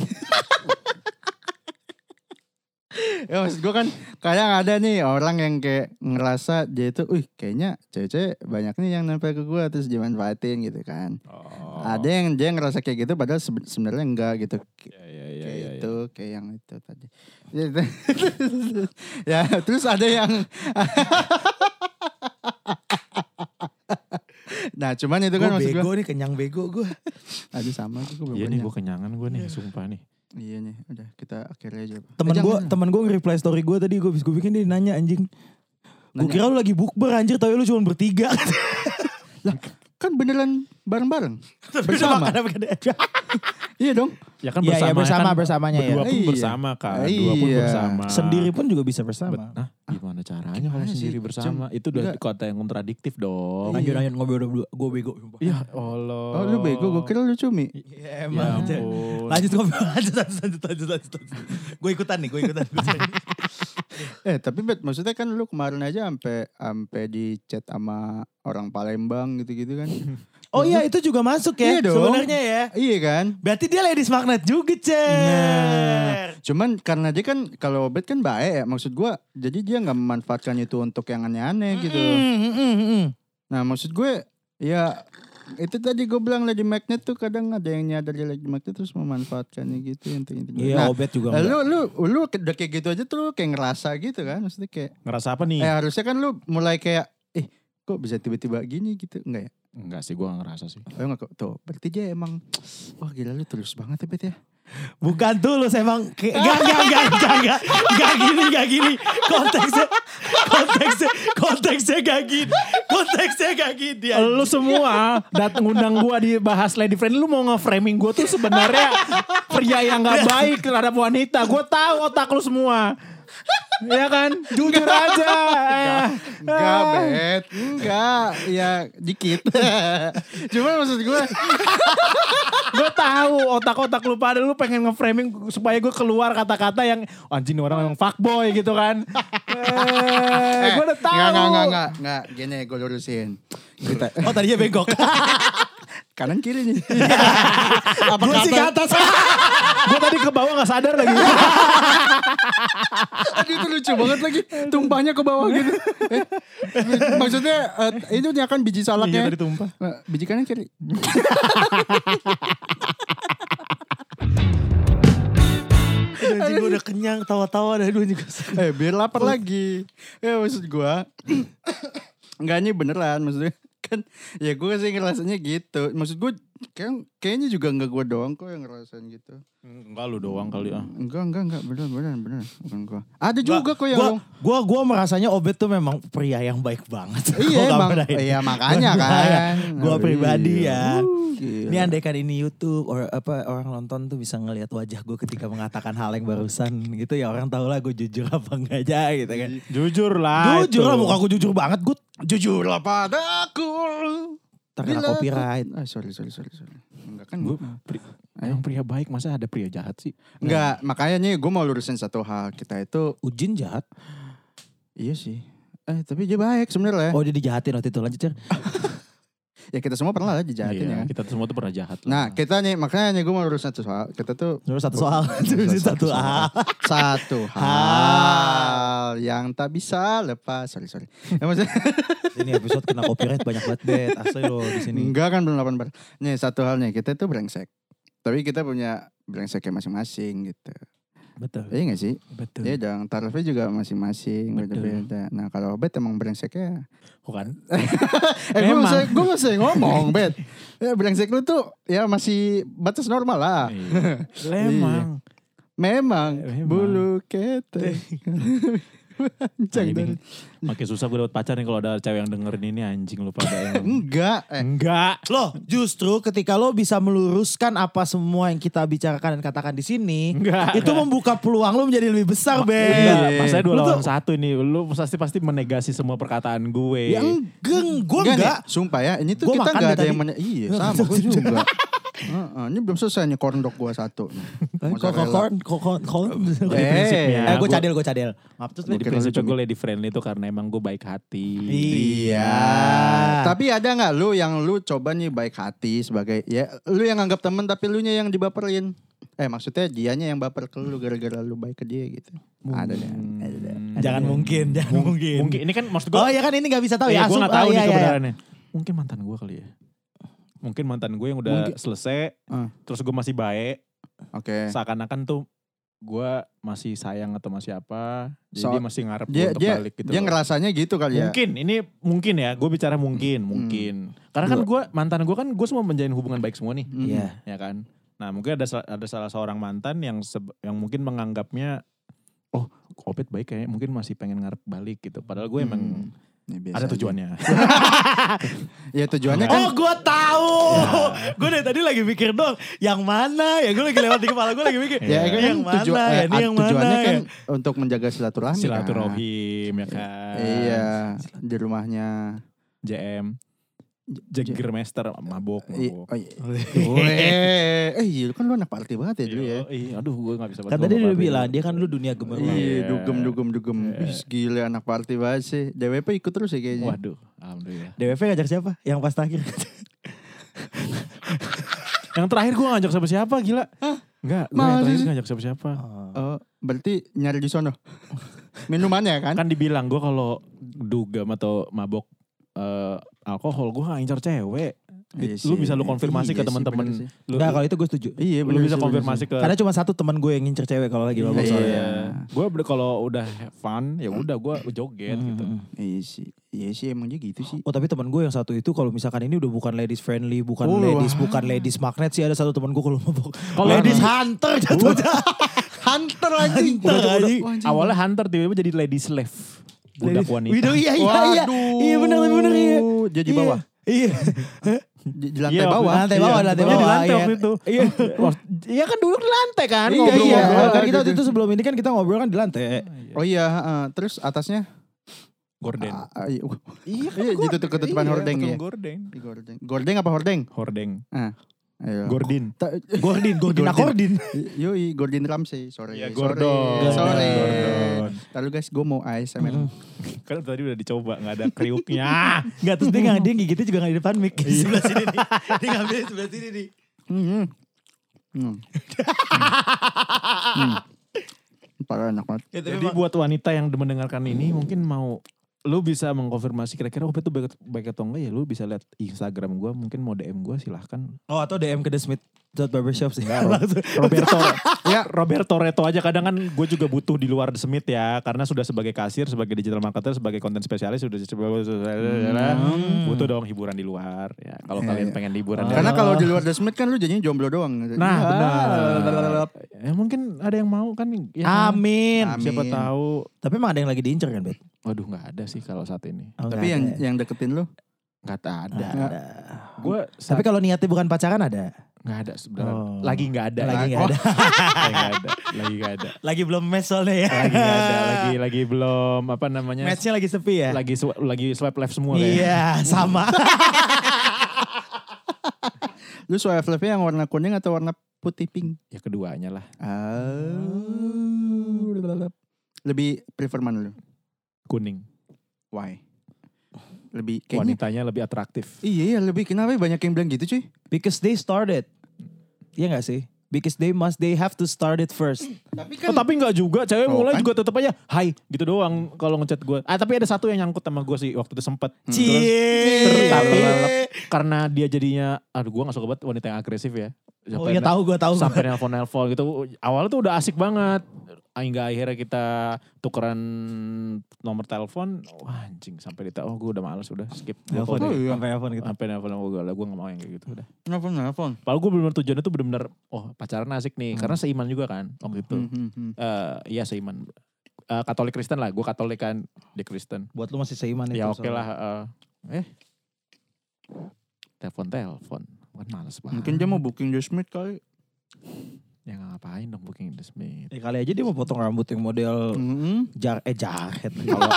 Speaker 1: ya maksud gue kan kadang ada nih orang yang kayak ngerasa dia itu, uh kayaknya cewek-cewek banyak nih yang nempel ke gue terus dimanfaatin gitu kan.
Speaker 4: Oh.
Speaker 1: Ada yang dia ngerasa kayak gitu padahal seben- sebenarnya enggak gitu. K-
Speaker 4: Iya, iya, iya,
Speaker 1: Kayak
Speaker 4: iya, iya.
Speaker 1: itu, kayak yang itu tadi. Gitu. ya terus ada yang Nah cuman itu kan
Speaker 3: Gua
Speaker 1: maksud gue
Speaker 3: bego nih, kenyang bego gue.
Speaker 1: Aduh sama gue
Speaker 4: Iya nih gue kenyangan gue nih, sumpah nih.
Speaker 1: Iya nih, udah kita akhirnya aja. Pak.
Speaker 3: Temen
Speaker 1: Eh,
Speaker 3: gue
Speaker 1: jangan.
Speaker 3: temen gue nge-reply story gue tadi, gue gue bikin dia nanya anjing. Gue
Speaker 1: Nanya.
Speaker 3: kira lu lagi bukber anjir, tapi lu cuma bertiga.
Speaker 1: Lah, kan beneran bareng-bareng. Bersama.
Speaker 3: Karena makan-
Speaker 1: iya dong.
Speaker 4: Ya kan
Speaker 3: Iya, iya, bersama,
Speaker 4: bersama, kan,
Speaker 3: bersamanya ya.
Speaker 4: berdua pun
Speaker 1: Iya.
Speaker 4: bersama kan, dua pun
Speaker 1: Iya.
Speaker 4: bersama.
Speaker 3: Sendiri pun juga bisa bersama.
Speaker 4: Nah, gimana caranya kalau
Speaker 1: Gimana sih?
Speaker 4: sendiri bersama? Itu udah kata yang kontradiktif dong.
Speaker 3: Lanjut lanjut ngobrol berdua, gue bego. sumpah.
Speaker 4: Ya Allah.
Speaker 1: Oh, lu bego, gue kira lu cumi.
Speaker 3: Iya
Speaker 4: Ya
Speaker 3: emang.
Speaker 4: ampun.
Speaker 3: lanjut ngobrol, lanjut lanjut lanjut lanjut lanjut. Gue ikutan nih, gue ikutan. gua ikutan.
Speaker 1: Eh, tapi Bet, maksudnya kan lu kemarin aja sampai sampai di chat sama orang Palembang gitu-gitu kan.
Speaker 3: oh iya itu juga masuk ya
Speaker 1: Iya dong.
Speaker 3: sebenarnya ya.
Speaker 1: iya kan?
Speaker 3: Berarti dia ladies magnet juga, Cer.
Speaker 1: Cuman karena dia kan kalau Bet kan baik ya, maksud gua jadi dia nggak memanfaatkan itu untuk yang aneh-aneh gitu.
Speaker 3: Mm, mm, mm, mm.
Speaker 1: Nah, maksud gue ya itu tadi gue bilang lagi magnet tuh kadang ada yang nyadari lagi magnet terus memanfaatkannya gitu untuk itu.
Speaker 3: Iya, Obet juga.
Speaker 1: Eh,
Speaker 3: enggak.
Speaker 1: lu lu lu udah kayak gitu aja tuh lu kayak ngerasa gitu kan maksudnya kayak
Speaker 4: Ngerasa apa nih?
Speaker 1: eh harusnya kan lu mulai kayak eh kok bisa tiba-tiba gini gitu enggak ya
Speaker 4: Enggak sih, gue gak ngerasa sih.
Speaker 1: oh enggak kok tuh berarti dia emang wah gila lu tulus banget ya Bet ya
Speaker 3: Bukan tulus emang Ke- Enggak, enggak, enggak, enggak, enggak Enggak gini, enggak gini Konteksnya Konteksnya Konteksnya enggak gini Konteksnya enggak gini
Speaker 1: Oh,
Speaker 3: anjing.
Speaker 4: Lu semua datang undang gua di bahas lady friend lu mau nge-framing gua tuh sebenarnya pria yang gak baik terhadap wanita. Gua tahu otak lu semua. Ya kan? Jujur aja. Ah.
Speaker 1: enggak Bet Ah. enggak ya dikit cuman maksud gue
Speaker 4: Gue tahu otak-otak lu pada lu pengen nge-framing supaya gue keluar kata-kata yang "Oh, anjing nih orang emang fuckboy gitu kan. eh, gue udah tahu.
Speaker 1: enggak enggak enggak enggak gini gue lurusin kita
Speaker 3: Oh tadinya bengkok
Speaker 1: kanan kiri nih apa
Speaker 3: Gue sih ke atas
Speaker 4: Gue tadi ke bawah gak sadar lagi.
Speaker 1: Aduh itu lucu banget lagi tumpahnya ke bawah gitu. Eh, maksudnya eh, itu dia kan biji salaknya.
Speaker 4: Iya, tadi tumpah.
Speaker 1: Eh, biji kanan kiri.
Speaker 3: Anjing gue udah kenyang Tawa-tawa dah dulu juga
Speaker 1: Eh biar lapar lagi. Ya maksud gua Enggak ini beneran maksudnya kan ya gue sih ngerasanya gitu. Maksud gue kayak, kayaknya juga enggak gue doang kok yang ngerasain gitu.
Speaker 4: Enggak lu doang kali ah.
Speaker 1: Enggak enggak enggak bener bener bener bukan gua. Ada juga kok yang ngomong,
Speaker 3: Gue gua merasanya Obet tuh memang pria yang baik banget
Speaker 1: Iya
Speaker 3: Gua nggak
Speaker 1: emang.
Speaker 3: bedain.
Speaker 1: Iya makanya
Speaker 3: Gua-
Speaker 1: kan.
Speaker 3: Gue
Speaker 1: Oh,
Speaker 3: pribadi
Speaker 1: iya.
Speaker 3: ya
Speaker 1: Uh, gila.
Speaker 3: Ini andaikan ini YouTube or apa orang nonton tuh bisa ngelihat wajah gue ketika mengatakan hal yang barusan gitu ya orang tahu lah gue jujur apa enggak aja gitu kan.
Speaker 4: Jujur
Speaker 1: Iya.
Speaker 4: lah.
Speaker 3: jujur lah muka gue jujur banget gue.
Speaker 1: Jujurlah padaku.
Speaker 3: Terkena
Speaker 1: Bila-
Speaker 3: copyright.
Speaker 1: Ah, sorry, sorry, sorry, sorry. Enggak kan.
Speaker 4: Gue
Speaker 3: Eh.
Speaker 4: emang pria baik masa ada pria jahat sih?
Speaker 1: Enggak, makanya nih gue mau lurusin satu hal. Kita itu,
Speaker 3: Ujin jahat.
Speaker 1: iya sih. Eh, tapi dia baik
Speaker 4: Eh.
Speaker 1: sebenarnya.
Speaker 3: Oh dia dijahatin waktu itu lanjut cer.
Speaker 1: Ya kita semua pernah lah dijahatin
Speaker 4: Iya,
Speaker 1: ya. kan?
Speaker 4: kita semua tuh pernah jahat.
Speaker 1: Nah,
Speaker 4: lah.
Speaker 1: kita nih, makanya nih gue mau lurusin satu hal. Kita tuh
Speaker 3: Nah, Terus satu soal.
Speaker 1: Lurusin
Speaker 3: Terus satu
Speaker 1: soal.
Speaker 3: hal.
Speaker 1: Satu hal yang tak bisa lepas. Sorry, sorry. Ya, maksudnya,
Speaker 3: Ini episode kena copyright banyak banget bet. Asli loh di sini.
Speaker 4: Hmm.
Speaker 1: enggak kan belum delapan bar. Nih, satu hal nih, kita tuh brengsek. Tapi kita punya brengseknya masing-masing gitu.
Speaker 3: Betul.
Speaker 4: Eh,
Speaker 1: Iya gak sih?
Speaker 3: Betul.
Speaker 1: Iya dong, tarifnya juga masing-masing beda-beda. Nah kalau bet emang brengseknya
Speaker 3: Oh, kan?
Speaker 4: Bukan.
Speaker 1: Eh gue
Speaker 3: Emang.
Speaker 1: masih, gue masih ngomong bet ya, Brengsek lu tuh ya masih batas normal lah
Speaker 4: Ah.
Speaker 3: Iya.
Speaker 4: Lemang.
Speaker 1: Memang,
Speaker 4: Memang.
Speaker 1: bulu ketek
Speaker 3: Nah,
Speaker 1: Anjing dari
Speaker 4: Makin susah gue dapet pacar nih kalau ada cewek yang dengerin ini anjing lu pada yang.
Speaker 1: Enggak eh.
Speaker 4: Enggak.
Speaker 2: Loh, justru ketika lo bisa meluruskan apa semua yang kita bicarakan dan katakan di sini,
Speaker 4: Enggak. iya.
Speaker 2: itu membuka peluang lo menjadi lebih besar,
Speaker 4: Enggak,
Speaker 2: Ben.
Speaker 4: Masanya dua
Speaker 2: Lu
Speaker 4: lawan
Speaker 2: tuh-
Speaker 4: satu ini. Lu pasti pasti menegasi semua perkataan gue.
Speaker 1: Ya
Speaker 2: Geng, gue
Speaker 1: nih,
Speaker 2: enggak.
Speaker 1: Sumpah ya, ini tuh
Speaker 2: Gua
Speaker 1: kita
Speaker 2: makan
Speaker 1: enggak
Speaker 2: dari
Speaker 1: ada
Speaker 2: tadi.
Speaker 1: yang mana Iya
Speaker 2: Nggak
Speaker 1: sama,
Speaker 2: masuk
Speaker 1: gue
Speaker 2: juga.
Speaker 1: juga Heeh, Ini belum selesai nih corn dog gue satu nih.
Speaker 3: Eh,
Speaker 1: Mozzarella.
Speaker 2: Kokon, kokon, kokon.
Speaker 1: Eh,
Speaker 4: prinsipnya.
Speaker 2: Eh, gue
Speaker 4: gua-
Speaker 2: cadel, gue cadel. Maaf terus,
Speaker 4: Jadi
Speaker 1: Bukan
Speaker 4: prinsip
Speaker 1: lu, Cumi.
Speaker 4: gue lady friendly itu karena emang gue baik hati.
Speaker 2: Iya.
Speaker 3: Ah.
Speaker 1: Tapi ada nggak lu yang lu coba nih baik hati sebagai ya lu yang anggap temen tapi lu nya yang dibaperin. Eh maksudnya dianya yang baper ke lu gara-gara lu baik ke dia gitu. Ada deh. Ada deh.
Speaker 2: jangan mungkin, jangan mungkin.
Speaker 4: Hmm. Mungkin ini kan maksud gue.
Speaker 2: Oh ya kan ini gak bisa tahu ya.
Speaker 4: gue
Speaker 2: asum-
Speaker 4: gak tahu
Speaker 2: oh,
Speaker 4: nih
Speaker 2: iya, iya, iya.
Speaker 4: kebenarannya. Mungkin mantan gue kali ya. Mungkin mantan gue yang udah selesai,
Speaker 1: Ah.
Speaker 4: terus gue masih baik,
Speaker 1: Oke.
Speaker 4: seakan-akan tuh gue masih sayang atau masih apa, jadi
Speaker 1: So-
Speaker 4: dia masih ngarep gue
Speaker 1: Dia
Speaker 4: untuk
Speaker 1: dia
Speaker 4: balik gitu.
Speaker 1: dia
Speaker 4: loh.
Speaker 1: ngerasanya gitu kali ya. Hmm.
Speaker 4: Mungkin ini mungkin ya, gue bicara mungkin, mungkin. Karena kan gue mantan gue kan gue semua menjalin hubungan baik semua nih,
Speaker 1: Mm.
Speaker 3: Iya.
Speaker 4: ya kan. Nah mungkin ada sal- ada salah seorang mantan yang seb- yang mungkin menganggapnya, oh Opet baik kayaknya mungkin masih pengen ngarep balik gitu. Padahal gue emang
Speaker 1: Ini biasa Hmm,
Speaker 4: ada
Speaker 1: aja.
Speaker 4: tujuannya.
Speaker 1: Ya tujuannya
Speaker 2: Oh
Speaker 1: kan
Speaker 2: gue tahu. gue Iya. dari tadi lagi mikir dong. Yang mana? Ya gue lagi lewat di kepala gue lagi mikir.
Speaker 3: Iya.
Speaker 1: Ya, kan
Speaker 2: yang mana? ya,
Speaker 1: tujuan- eh,
Speaker 2: ini yang
Speaker 1: tujuannya
Speaker 2: mana?
Speaker 1: kan
Speaker 2: ya?
Speaker 1: untuk menjaga silaturahmi. Kan?
Speaker 4: Silaturahim ya kan.
Speaker 1: Iya, di rumahnya.
Speaker 4: JM. Jagger Master mabok
Speaker 1: I-
Speaker 4: mabok.
Speaker 1: oh, iya.
Speaker 3: Kan
Speaker 1: Weh. Eh, iya, kan lu anak party banget ya dulu ya.
Speaker 4: Iya, aduh gue gak bisa
Speaker 3: Kan tadi dia bilang dia kan lu dunia gemerlap.
Speaker 1: Iya,
Speaker 4: Iya.
Speaker 1: dugem dugem dugem. Ih, gila anak party banget sih. DWP ikut terus ya kayaknya.
Speaker 4: Waduh, alhamdulillah.
Speaker 3: DWP ngajak siapa? Yang pas terakhir.
Speaker 4: Yang terakhir gue ngajak sama siapa gila? Enggak, gue yang
Speaker 1: Masa
Speaker 4: terakhir
Speaker 1: sih?
Speaker 4: ngajak sama siapa?
Speaker 1: Oh, berarti nyari di sono. Minumannya kan?
Speaker 4: Kan dibilang gue kalau dugem atau mabok eh, alkohol gue gak incar cewek.
Speaker 1: Iya
Speaker 4: Lu
Speaker 1: sih.
Speaker 4: bisa lu konfirmasi
Speaker 1: Iya
Speaker 4: ke
Speaker 1: sih,
Speaker 4: teman-teman.
Speaker 1: bener sih.
Speaker 4: Lu,
Speaker 3: Enggak, kalau itu gue setuju.
Speaker 1: Iya,
Speaker 4: lu
Speaker 1: bener sih,
Speaker 4: bisa
Speaker 1: bener
Speaker 4: konfirmasi
Speaker 1: sih.
Speaker 4: ke
Speaker 3: Karena cuma satu teman gue yang ngincer cewek kalau lagi mabok
Speaker 1: Iya.
Speaker 3: soalnya.
Speaker 4: Gue kalau udah fun ya udah gue joget gitu.
Speaker 1: Iya sih. Iya sih emang dia gitu sih.
Speaker 3: Oh tapi teman gue yang satu itu kalau misalkan ini udah bukan ladies friendly, bukan
Speaker 1: Oh,
Speaker 3: ladies,
Speaker 1: wah.
Speaker 3: bukan ladies magnet sih ada satu teman gue kalau mabok.
Speaker 4: Kalau
Speaker 3: ladies
Speaker 4: emang-
Speaker 3: hunter jatuhnya.
Speaker 1: Hunter anjing.
Speaker 3: Hunter,
Speaker 1: Udah- udah-
Speaker 3: anjing.
Speaker 1: wah, anjing.
Speaker 4: Awalnya hunter tiba-tiba jadi lady slave. Budak wanita.
Speaker 3: Waduh, iya iya iya.
Speaker 1: Waduh.
Speaker 3: Iya benar benar iya.
Speaker 1: Dia di
Speaker 3: Iya,
Speaker 1: bawah.
Speaker 3: Iya.
Speaker 1: Di, di lantai
Speaker 4: Iya,
Speaker 1: bawah.
Speaker 3: Lantai bawah, lantai
Speaker 4: Pokoknya
Speaker 3: bawah.
Speaker 4: di lantai
Speaker 3: iya.
Speaker 4: waktu itu. Iya. Iya kan duduk di lantai kan.
Speaker 3: Iya,
Speaker 4: ngobrol,
Speaker 3: iya.
Speaker 4: ngobrol.
Speaker 3: Kan kita waktu itu sebelum ini kan kita ngobrol kan di lantai.
Speaker 1: Oh iya, heeh. terus atasnya
Speaker 4: Gorden.
Speaker 1: Ah, ah, iya.
Speaker 4: Iya,
Speaker 1: Iya, gitu tuh ketutupan
Speaker 4: iya,
Speaker 1: hordeng
Speaker 4: ketutupan
Speaker 1: ya.
Speaker 4: Gorden.
Speaker 1: Gordeng. Gordeng apa hordeng?
Speaker 4: Hordeng.
Speaker 1: Ah. Ayo.
Speaker 4: Gordin.
Speaker 1: Ta-
Speaker 3: Gordin, Gordin, Gordin.
Speaker 1: Yoi, Gordon Ramsay, sorry.
Speaker 4: Iya,
Speaker 1: sorry,
Speaker 4: Gordon.
Speaker 1: Sorry.
Speaker 4: Gordon.
Speaker 1: Lalu guys, gue mau ice, men.
Speaker 4: Kan tadi udah dicoba nggak ada kriuknya.
Speaker 3: Enggak terus dia nggak dia gigitnya juga nggak di depan mic sebelah sini nih. Dia ngambil sebelah sini nih.
Speaker 4: Mm-hmm.
Speaker 1: Hmm. Hmm. Hmm. Parah enak banget.
Speaker 3: Ya, tapi
Speaker 4: Jadi
Speaker 3: emang-
Speaker 4: buat wanita yang mendengarkan ini mungkin mau lu bisa mengkonfirmasi kira-kira Opet tuh baik, baik atau enggak ya lu bisa lihat Instagram gua mungkin mau DM gua silahkan
Speaker 3: Oh atau DM ke The Smith Barbershop sih. Langsung.
Speaker 4: Roberto
Speaker 1: Ya.
Speaker 4: ya Roberto Reto aja kadang kan gue juga butuh di luar The Smith ya karena sudah sebagai kasir sebagai digital marketer sebagai konten spesialis sudah butuh dong hiburan di luar ya kalau kalian pengen liburan ya.
Speaker 1: Karena kalau di luar The Smith kan lu jadinya jomblo doang.
Speaker 4: nah
Speaker 1: Ya.
Speaker 4: benar ya mungkin ada yang mau kan ya kan?
Speaker 3: Amin.
Speaker 4: siapa
Speaker 1: Amin.
Speaker 4: tahu
Speaker 3: Tapi emang ada yang lagi diincer kan, Bet?
Speaker 4: waduh nggak ada sih kalau saat ini
Speaker 3: Oh,
Speaker 1: Tapi
Speaker 3: nggak
Speaker 1: yang
Speaker 3: ada.
Speaker 1: yang deketin lu.
Speaker 4: nggak ada
Speaker 3: Nggak ada.
Speaker 4: gue
Speaker 3: Tapi kalau niatnya bukan pacaran ada.
Speaker 4: nggak ada sebenarnya
Speaker 3: Oh.
Speaker 4: lagi nggak ada
Speaker 3: Lagi nggak ada.
Speaker 4: lagi nggak ada lagi nggak ada
Speaker 3: Lagi belum match soalnya ya.
Speaker 4: lagi nggak ada lagi lagi belum apa namanya
Speaker 3: Matchnya lagi sepi ya.
Speaker 4: lagi sw- lagi swipe left semua ya
Speaker 3: Iya, sama.
Speaker 1: Lu swipe left yang warna kuning atau warna putih pink?
Speaker 4: ya keduanya lah
Speaker 1: Oh. Lebih prefer mana lu?
Speaker 4: kuning
Speaker 1: Why? Lebih kayaknya.
Speaker 4: wanitanya lebih atraktif
Speaker 1: Iya, iya, lebih kenapa ya banyak yang bilang gitu cuy?
Speaker 3: Because they started. Iya gak sih? Because they must, they have to start it first.
Speaker 1: Tapi kan
Speaker 4: Oh, tapi nggak juga, cewek
Speaker 1: Oh,
Speaker 4: mulai
Speaker 1: kan?
Speaker 4: juga tetep aja, hai gitu doang kalau ngechat gue. Ah tapi ada satu yang nyangkut sama gue sih waktu itu sempet. Terus-
Speaker 3: Cie. Oh, iya,
Speaker 4: Terus tapi karena dia jadinya, aduh gue gak suka banget wanita yang agresif ya.
Speaker 3: Oh iya tahu gue tahu.
Speaker 4: sampai nelpon nelpon gitu awalnya tuh udah asik banget hingga akhirnya kita tukeran nomor telepon wah anjing sampai dita oh gue udah males udah skip Gua
Speaker 3: Nelfon,
Speaker 4: call deh.
Speaker 3: sampai nelfon gitu.
Speaker 4: sampai nelfon gue gak gue gak mau yang kayak gitu udah
Speaker 1: Nelfon, nelfon.
Speaker 4: Padahal gue bener-bener tujuannya tuh bener-bener oh pacaran asik nih karena seiman juga kan waktu itu
Speaker 1: Hmm, hmm, hmm.
Speaker 4: Eh, iya seiman Eh, Katolik Kristen lah gue Katolik kan dia Kristen
Speaker 3: Buat lu masih seiman itu.
Speaker 4: ya oke
Speaker 3: soalnya.
Speaker 4: lah eh. eh telepon telepon kan males banget
Speaker 1: Mungkin dia mau booking The Smith kali.
Speaker 4: ya nggak ngapain dong booking Smith
Speaker 3: Ya, kali aja dia mau potong rambut yang model
Speaker 1: Hmm.
Speaker 3: jar eh jaret kalau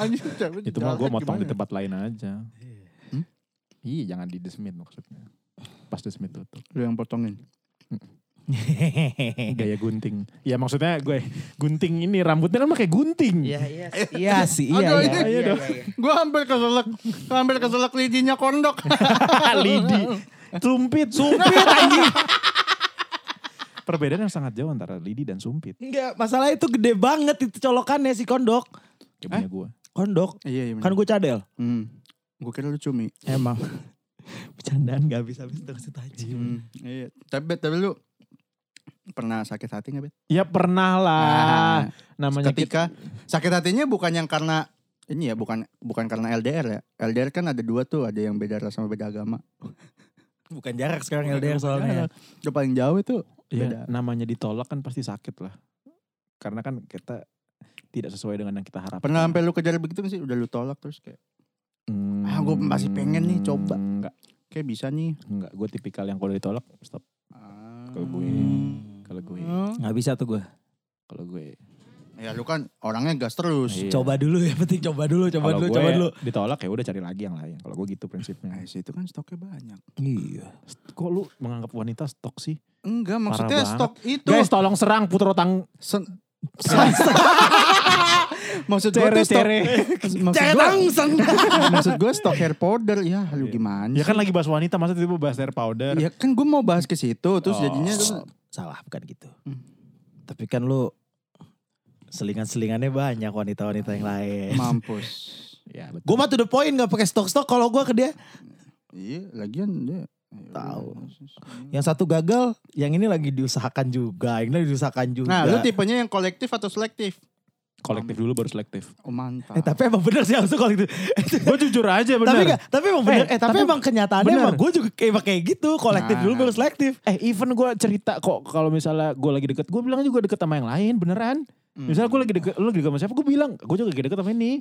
Speaker 1: Anjing, cewek
Speaker 4: itu mah
Speaker 1: jahat
Speaker 4: gue motong di
Speaker 1: gimana?
Speaker 4: tempat lain aja
Speaker 1: Hmm?
Speaker 4: iya jangan di Smith maksudnya pas The Smith tutup
Speaker 1: Lu yang potongin. Iya.
Speaker 4: gaya gunting ya maksudnya gue gunting ini rambutnya kan pakai gunting
Speaker 3: iya iya sih iya
Speaker 1: Aduh,
Speaker 3: iya.
Speaker 1: ini-
Speaker 4: iya dong.
Speaker 1: Gue hampir keselak, hampir keselak lidinya kondok.
Speaker 4: lidi sumpit sumpit anjing perbedaan yang sangat jauh antara lidi dan sumpit
Speaker 3: Enggak, masalah itu gede banget itu colokannya si kondok.
Speaker 4: ya punya gue
Speaker 3: Kondok.
Speaker 1: iya, iya.
Speaker 3: Kan gue cadel.
Speaker 1: Hmm. Gue kira lu cumi.
Speaker 3: Emang. Bercandaan gak habis-habis terus itu aja.
Speaker 1: Hmm. Iya. Tapi, Bet, tapi lu pernah sakit hati gak, Bet?
Speaker 4: ya pernah lah
Speaker 1: Nah,
Speaker 4: namanya gitu. kita
Speaker 1: ketika sakit hatinya bukan yang karena ini ya bukan bukan karena LDR ya. LDR kan ada dua tuh, ada yang beda ras sama beda agama.
Speaker 3: Bukan jarak sekarang LDR soalnya.
Speaker 1: Itu paling jauh itu beda.
Speaker 4: ya, namanya ditolak kan pasti sakit lah karena kan kita tidak sesuai dengan yang kita harapkan
Speaker 1: Pernah sampai lu kejar begitu gak sih? Udah lu tolak terus kayak
Speaker 4: Hmm,
Speaker 1: Ah, gua masih pengen nih, coba.
Speaker 4: enggak
Speaker 1: kayak bisa nih. Ah.
Speaker 4: enggak gue tipikal yang kalau ditolak stop kalau gue
Speaker 1: Hmm.
Speaker 4: kalau gue
Speaker 3: Gak bisa tuh gue.
Speaker 4: kalau gue
Speaker 1: Ya lu kan orangnya gas terus.
Speaker 4: Iya.
Speaker 3: Coba dulu ya penting coba dulu, coba
Speaker 4: Kalau
Speaker 3: dulu,
Speaker 4: gue
Speaker 3: coba dulu.
Speaker 4: ditolak ya udah cari lagi yang lain kalau gue gitu
Speaker 1: Nah,
Speaker 4: prinsipnya
Speaker 1: itu kan stoknya banyak.
Speaker 3: Iya.
Speaker 4: kok lu menganggap wanita stok sih
Speaker 1: Enggak,
Speaker 4: Parah
Speaker 1: maksudnya
Speaker 4: banget.
Speaker 1: stok itu.
Speaker 4: guys tolong serang putro tang
Speaker 1: Sen-
Speaker 4: maksud
Speaker 1: gua tuh stok- maksud
Speaker 3: Jangan
Speaker 1: gua,
Speaker 3: langsung.
Speaker 1: maksud gua stok hair powder. Ya, lu gimana?
Speaker 4: Ya
Speaker 1: sih?
Speaker 4: kan lagi bahas wanita, masa tiba-tiba bahas hair
Speaker 3: Iya.
Speaker 4: powder.
Speaker 1: Ya kan gue mau bahas ke situ terus
Speaker 4: Oh.
Speaker 1: jadinya
Speaker 3: Salah bukan gitu.
Speaker 1: Hmm.
Speaker 3: Tapi kan lu selingan-selingannya banyak wanita-wanita yang lain.
Speaker 1: mampus.
Speaker 4: Ya, betul.
Speaker 3: Gue mah to the point gak pakai stok-stok kalau gue ke dia.
Speaker 1: Iya, lagian dia eh,
Speaker 3: Tahu. Yang satu gagal, yang ini lagi diusahakan juga, yang ini lagi diusahakan juga.
Speaker 1: Nah, lu tipenya yang kolektif atau selektif?
Speaker 4: kolektif dulu baru selektif.
Speaker 1: Oh, mantap.
Speaker 3: Eh tapi emang bener sih langsung kalau gitu.
Speaker 4: gue jujur aja bener.
Speaker 3: tapi enggak, tapi emang bener.
Speaker 4: Eh,
Speaker 3: Eh, tapi,
Speaker 4: tapi-
Speaker 3: emang kenyataannya
Speaker 4: bener.
Speaker 3: emang gue juga kayak kayak gitu. Kolektif
Speaker 1: Nah.
Speaker 3: dulu baru selektif.
Speaker 4: Eh even gue cerita kok kalau misalnya gue lagi deket, gue bilang juga deket sama yang lain beneran.
Speaker 1: Hmm.
Speaker 4: Misalnya gue lagi deket, lu lagi deket sama siapa, gue bilang gue juga lagi deket sama ini.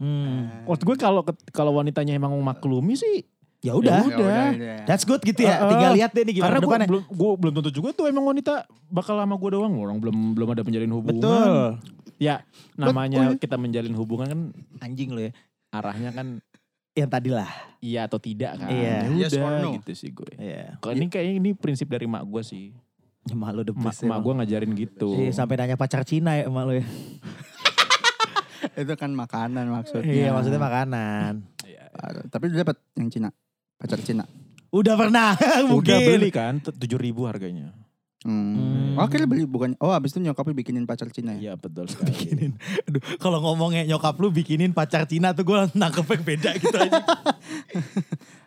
Speaker 3: Hmm.
Speaker 4: Waktu gue kalau ket- kalau wanitanya emang memaklumi sih,
Speaker 3: Ya udah.
Speaker 1: Ya udah. udah.
Speaker 3: That's good gitu ya.
Speaker 4: Eh, eh.
Speaker 3: Tinggal lihat deh nih gimana
Speaker 4: karena gue
Speaker 3: depannya.
Speaker 4: belum gue belum tentu juga tuh emang wanita bakal sama gue doang. Orang belum belum ada menjalin hubungan. Ya namanya kita menjalin hubungan kan
Speaker 3: Anjing lu ya.
Speaker 4: arahnya kan
Speaker 3: Yang tadi lah.
Speaker 4: iya atau tidak kan.
Speaker 3: Iya.
Speaker 4: Ya
Speaker 1: Yes or
Speaker 4: udah
Speaker 1: no.
Speaker 4: gitu sih gue.
Speaker 3: Iya.
Speaker 4: Kalau ini kayaknya ini prinsip dari mak gue sih.
Speaker 3: Emak lu the
Speaker 4: Mak,
Speaker 3: best. emang.
Speaker 4: gue ngajarin gitu.
Speaker 3: Iya, sampai nanya pacar Cina ya emak lu ya.
Speaker 1: Itu kan makanan maksudnya.
Speaker 3: Iya, maksudnya makanan.
Speaker 1: Parah. Tapi lu dapat yang Cina. Pacar Cina.
Speaker 3: Udah pernah mungkin.
Speaker 4: Udah beli kan, tujuh ribu harganya.
Speaker 1: Hmm.
Speaker 3: Hmm.
Speaker 1: Oke, lu beli bukan. Oh, habis itu nyokapnya bikinin pacar Cina
Speaker 3: Eh.
Speaker 1: ya.
Speaker 4: Iya betul sekali.
Speaker 3: bikinin. Aduh, kalau ngomongnya nyokap lu bikinin pacar Cina tuh gue nangkepnya beda gitu aja.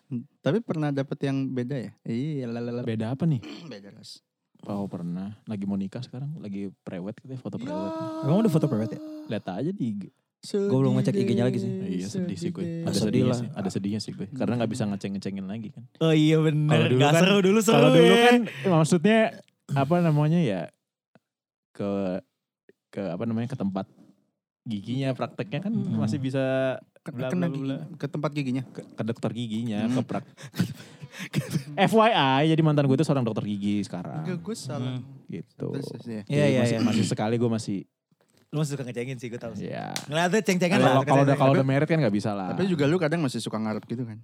Speaker 1: Hmm. Tapi pernah dapat yang beda ya? Iya, lalala.
Speaker 4: Beda apa nih?
Speaker 1: Hmm, Beda ras.
Speaker 4: Oh pernah. Lagi mau nikah sekarang, lagi prewed gitu ya, foto prewed.
Speaker 3: Emang udah foto private ya?
Speaker 4: Lihat aja di IG.
Speaker 1: Gue
Speaker 3: Gua belum ngecek IG-nya lagi sih.
Speaker 4: Iya sedih sih gue.
Speaker 3: Ah,
Speaker 4: Ada
Speaker 3: sedih
Speaker 4: sedihnya
Speaker 3: lah.
Speaker 4: sih. Ada sedihnya sih gue. Karena nggak bisa ngeceng-ngecengin lagi kan.
Speaker 3: Oh iya bener,
Speaker 4: Kalau dulu
Speaker 3: gak
Speaker 4: kan-
Speaker 3: seru dulu seru
Speaker 4: Kalau
Speaker 3: ya.
Speaker 4: dulu kan maksudnya apa namanya ya ke ke apa namanya ke tempat giginya prakteknya kan
Speaker 3: Hmm.
Speaker 4: masih bisa Bla,
Speaker 1: Kan Kena
Speaker 4: bla,
Speaker 1: gigi-
Speaker 4: bla.
Speaker 1: ke tempat giginya.
Speaker 4: ke, ke dokter giginya
Speaker 1: Hmm.
Speaker 4: ke prak FYI jadi mantan gue itu seorang dokter gigi
Speaker 1: Enggak,
Speaker 3: Ah.
Speaker 4: sekarang
Speaker 1: gue salah.
Speaker 3: Hmm.
Speaker 4: gitu
Speaker 1: Terus, terus, ya.
Speaker 3: Iya
Speaker 4: Jadi
Speaker 3: iya
Speaker 4: masih,
Speaker 3: iya.
Speaker 4: masih sekali gue masih
Speaker 3: Lu masih suka ngecengin sih gue tau sih.
Speaker 4: ya
Speaker 3: Ngeliatnya
Speaker 1: Iya
Speaker 3: ceng-cengan lah. suka
Speaker 4: kalau kalau udah
Speaker 3: ceng-cengan.
Speaker 4: kalau udah merit kan nggak bisa
Speaker 3: Ah.
Speaker 4: lah
Speaker 1: kan, Tapi juga lu kadang masih suka ngarep gitu kan.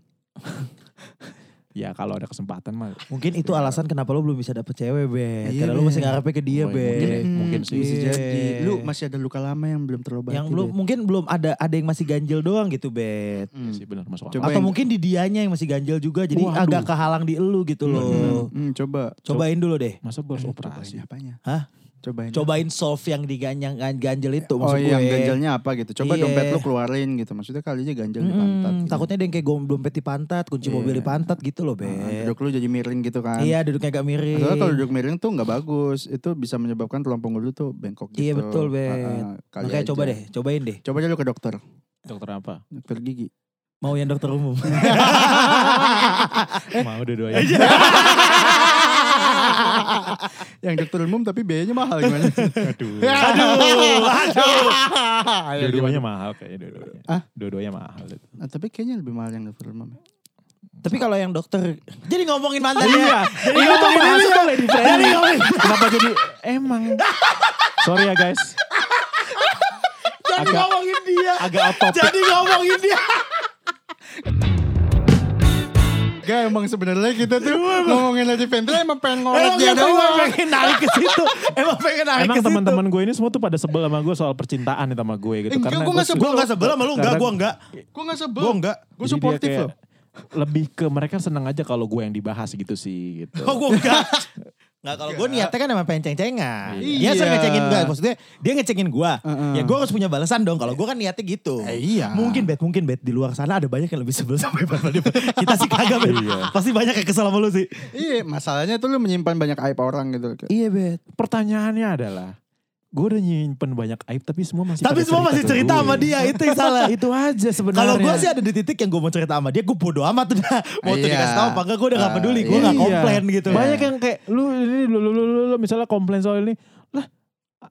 Speaker 4: ya kalau ada kesempatan mah iya
Speaker 3: Mungkin itu alasan kenapa lu belum bisa dapet cewek, Bet.
Speaker 1: Iya,
Speaker 3: Karena lu masih
Speaker 1: Bet.
Speaker 3: ngarepnya ke dia,
Speaker 4: Mungkin-
Speaker 3: Bet.
Speaker 4: Hmm, mungkin sih.
Speaker 1: Bisa
Speaker 3: Iya.
Speaker 1: jadi. Lu masih ada luka lama yang belum terobati.
Speaker 3: Yang belum
Speaker 1: Bet.
Speaker 3: mungkin belum ada ada yang masih ganjil doang gitu, Bet.
Speaker 1: Hmm.
Speaker 4: sih benar masuk
Speaker 1: Coba
Speaker 4: akal.
Speaker 3: Atau
Speaker 1: yang-
Speaker 3: mungkin di dianya yang masih ganjil juga jadi
Speaker 4: Waduh.
Speaker 3: agak kehalang di elu gitu oh, loh.
Speaker 1: Hmm, coba.
Speaker 3: Cobain dulu deh.
Speaker 4: masa gue harus
Speaker 1: Eh, Cobain
Speaker 4: operasi
Speaker 1: apanya?
Speaker 3: Hah?
Speaker 1: Cobain.
Speaker 3: Cobain solve yang diganyang ganjel itu
Speaker 1: Oh
Speaker 3: maksud
Speaker 4: iya,
Speaker 3: gue.
Speaker 1: yang ganjelnya apa gitu. Coba
Speaker 3: eh, Iya.
Speaker 1: dompet lu keluarin gitu. Maksudnya kalinya ganjel di
Speaker 3: Mm-mm,
Speaker 1: pantat. gitu.
Speaker 3: takutnya ada yang kayak gom- dompet di pantat, kunci
Speaker 1: Iya.
Speaker 3: mobil di pantat gitu loh, Be.
Speaker 1: Ah, duduk lu jadi miring gitu kan.
Speaker 3: Iya, duduknya agak miring.
Speaker 1: Soalnya kalau duduk miring tuh nggak bagus. Itu bisa menyebabkan tulang punggung lu tuh bengkok gitu.
Speaker 3: Iya,
Speaker 1: Ah,
Speaker 3: betul, Bet.
Speaker 1: ah, kali
Speaker 3: Makanya
Speaker 1: aja.
Speaker 3: coba deh, cobain deh.
Speaker 1: Coba aja lu ke dokter.
Speaker 4: Dokter apa?
Speaker 1: Dokter gigi.
Speaker 3: Mau yang dokter umum.
Speaker 1: Eh.
Speaker 4: Mau ya? dua-duanya.
Speaker 1: Iya. Yang dokter umum tapi biayanya mahal gimana?
Speaker 4: Aduh.
Speaker 1: Aduh, aduh.
Speaker 4: Dua-duanya mahal kayaknya dua-duanya.
Speaker 1: Hah?
Speaker 4: Dua-duanya mahal. itu.
Speaker 1: Nah, tapi kayaknya lebih mahal yang dokter umum. ya.
Speaker 3: Tapi kalau yang dokter jadi ngomongin
Speaker 4: Iya,
Speaker 1: Iya.
Speaker 3: mantan ya. Jadi
Speaker 4: Itu
Speaker 3: ngomongin
Speaker 4: iya, masuk
Speaker 3: mantan.
Speaker 4: oleh di Friendly. Kenapa jadi emang? Sorry ya guys.
Speaker 3: Jadi
Speaker 4: Agak-
Speaker 3: ngomongin dia.
Speaker 4: Agak out topic.
Speaker 3: Jadi ngomongin dia.
Speaker 1: Gak emang sebenarnya kita tuh ngomongin Lady Vendra emang pengen ngorek
Speaker 3: Iya, Emang
Speaker 1: dia
Speaker 3: kenapa
Speaker 1: doang.
Speaker 3: pengen narik ke situ. Emang pengen narik
Speaker 4: Emang
Speaker 3: ke situ.
Speaker 4: teman-teman gue ini semua tuh pada sebel sama gue soal percintaan nih sama gue gitu.
Speaker 1: Enggak, gue nggak sebel.
Speaker 2: Gue gak sebel sama lu, enggak,
Speaker 4: Karena-
Speaker 2: gue enggak.
Speaker 1: Gue gak sebel.
Speaker 2: Gue enggak.
Speaker 1: Gue
Speaker 4: Jadi dia
Speaker 1: supportive
Speaker 4: kayak
Speaker 1: loh.
Speaker 4: Lebih ke mereka seneng aja kalau gue yang dibahas gitu sih gitu.
Speaker 2: Oh gue enggak.
Speaker 3: Nggak kalau gue niatnya kan emang pengen ceng-cengan.
Speaker 1: Iya.
Speaker 3: Dia sering ngecengin gue. Maksudnya dia ngecengin gue.
Speaker 1: Heeh.
Speaker 3: Ya gue harus punya balasan dong. Kalau gue kan niatnya gitu.
Speaker 1: Eh, iya.
Speaker 3: Mungkin bet, mungkin bet. Di luar sana ada banyak yang lebih sebel sama Ivan Fadil. Kita sih kagak bet. Pasti banyak yang kesel sama lu sih.
Speaker 1: Iya, masalahnya tuh lu menyimpan banyak aib orang gitu.
Speaker 3: Iya bet.
Speaker 4: Pertanyaannya adalah, gue udah nyimpen banyak aib tapi semua masih
Speaker 3: Tapi
Speaker 4: pada
Speaker 3: semua masih
Speaker 4: ke
Speaker 3: cerita
Speaker 4: gue.
Speaker 3: sama dia. Itu yang salah.
Speaker 4: Itu aja sebenarnya.
Speaker 3: Kalau gue sih ada di titik yang gue mau cerita sama dia, gue bodo amat udah. Mau tuh
Speaker 1: Iya.
Speaker 3: dikasih tau apa enggak, gue udah gak
Speaker 1: Ah,
Speaker 3: peduli. Gue gak
Speaker 4: Iya.
Speaker 3: komplain gitu.
Speaker 4: Banyak yang kayak lu ini lu, lu, lu, lu, lu, misalnya komplain soal ini, lah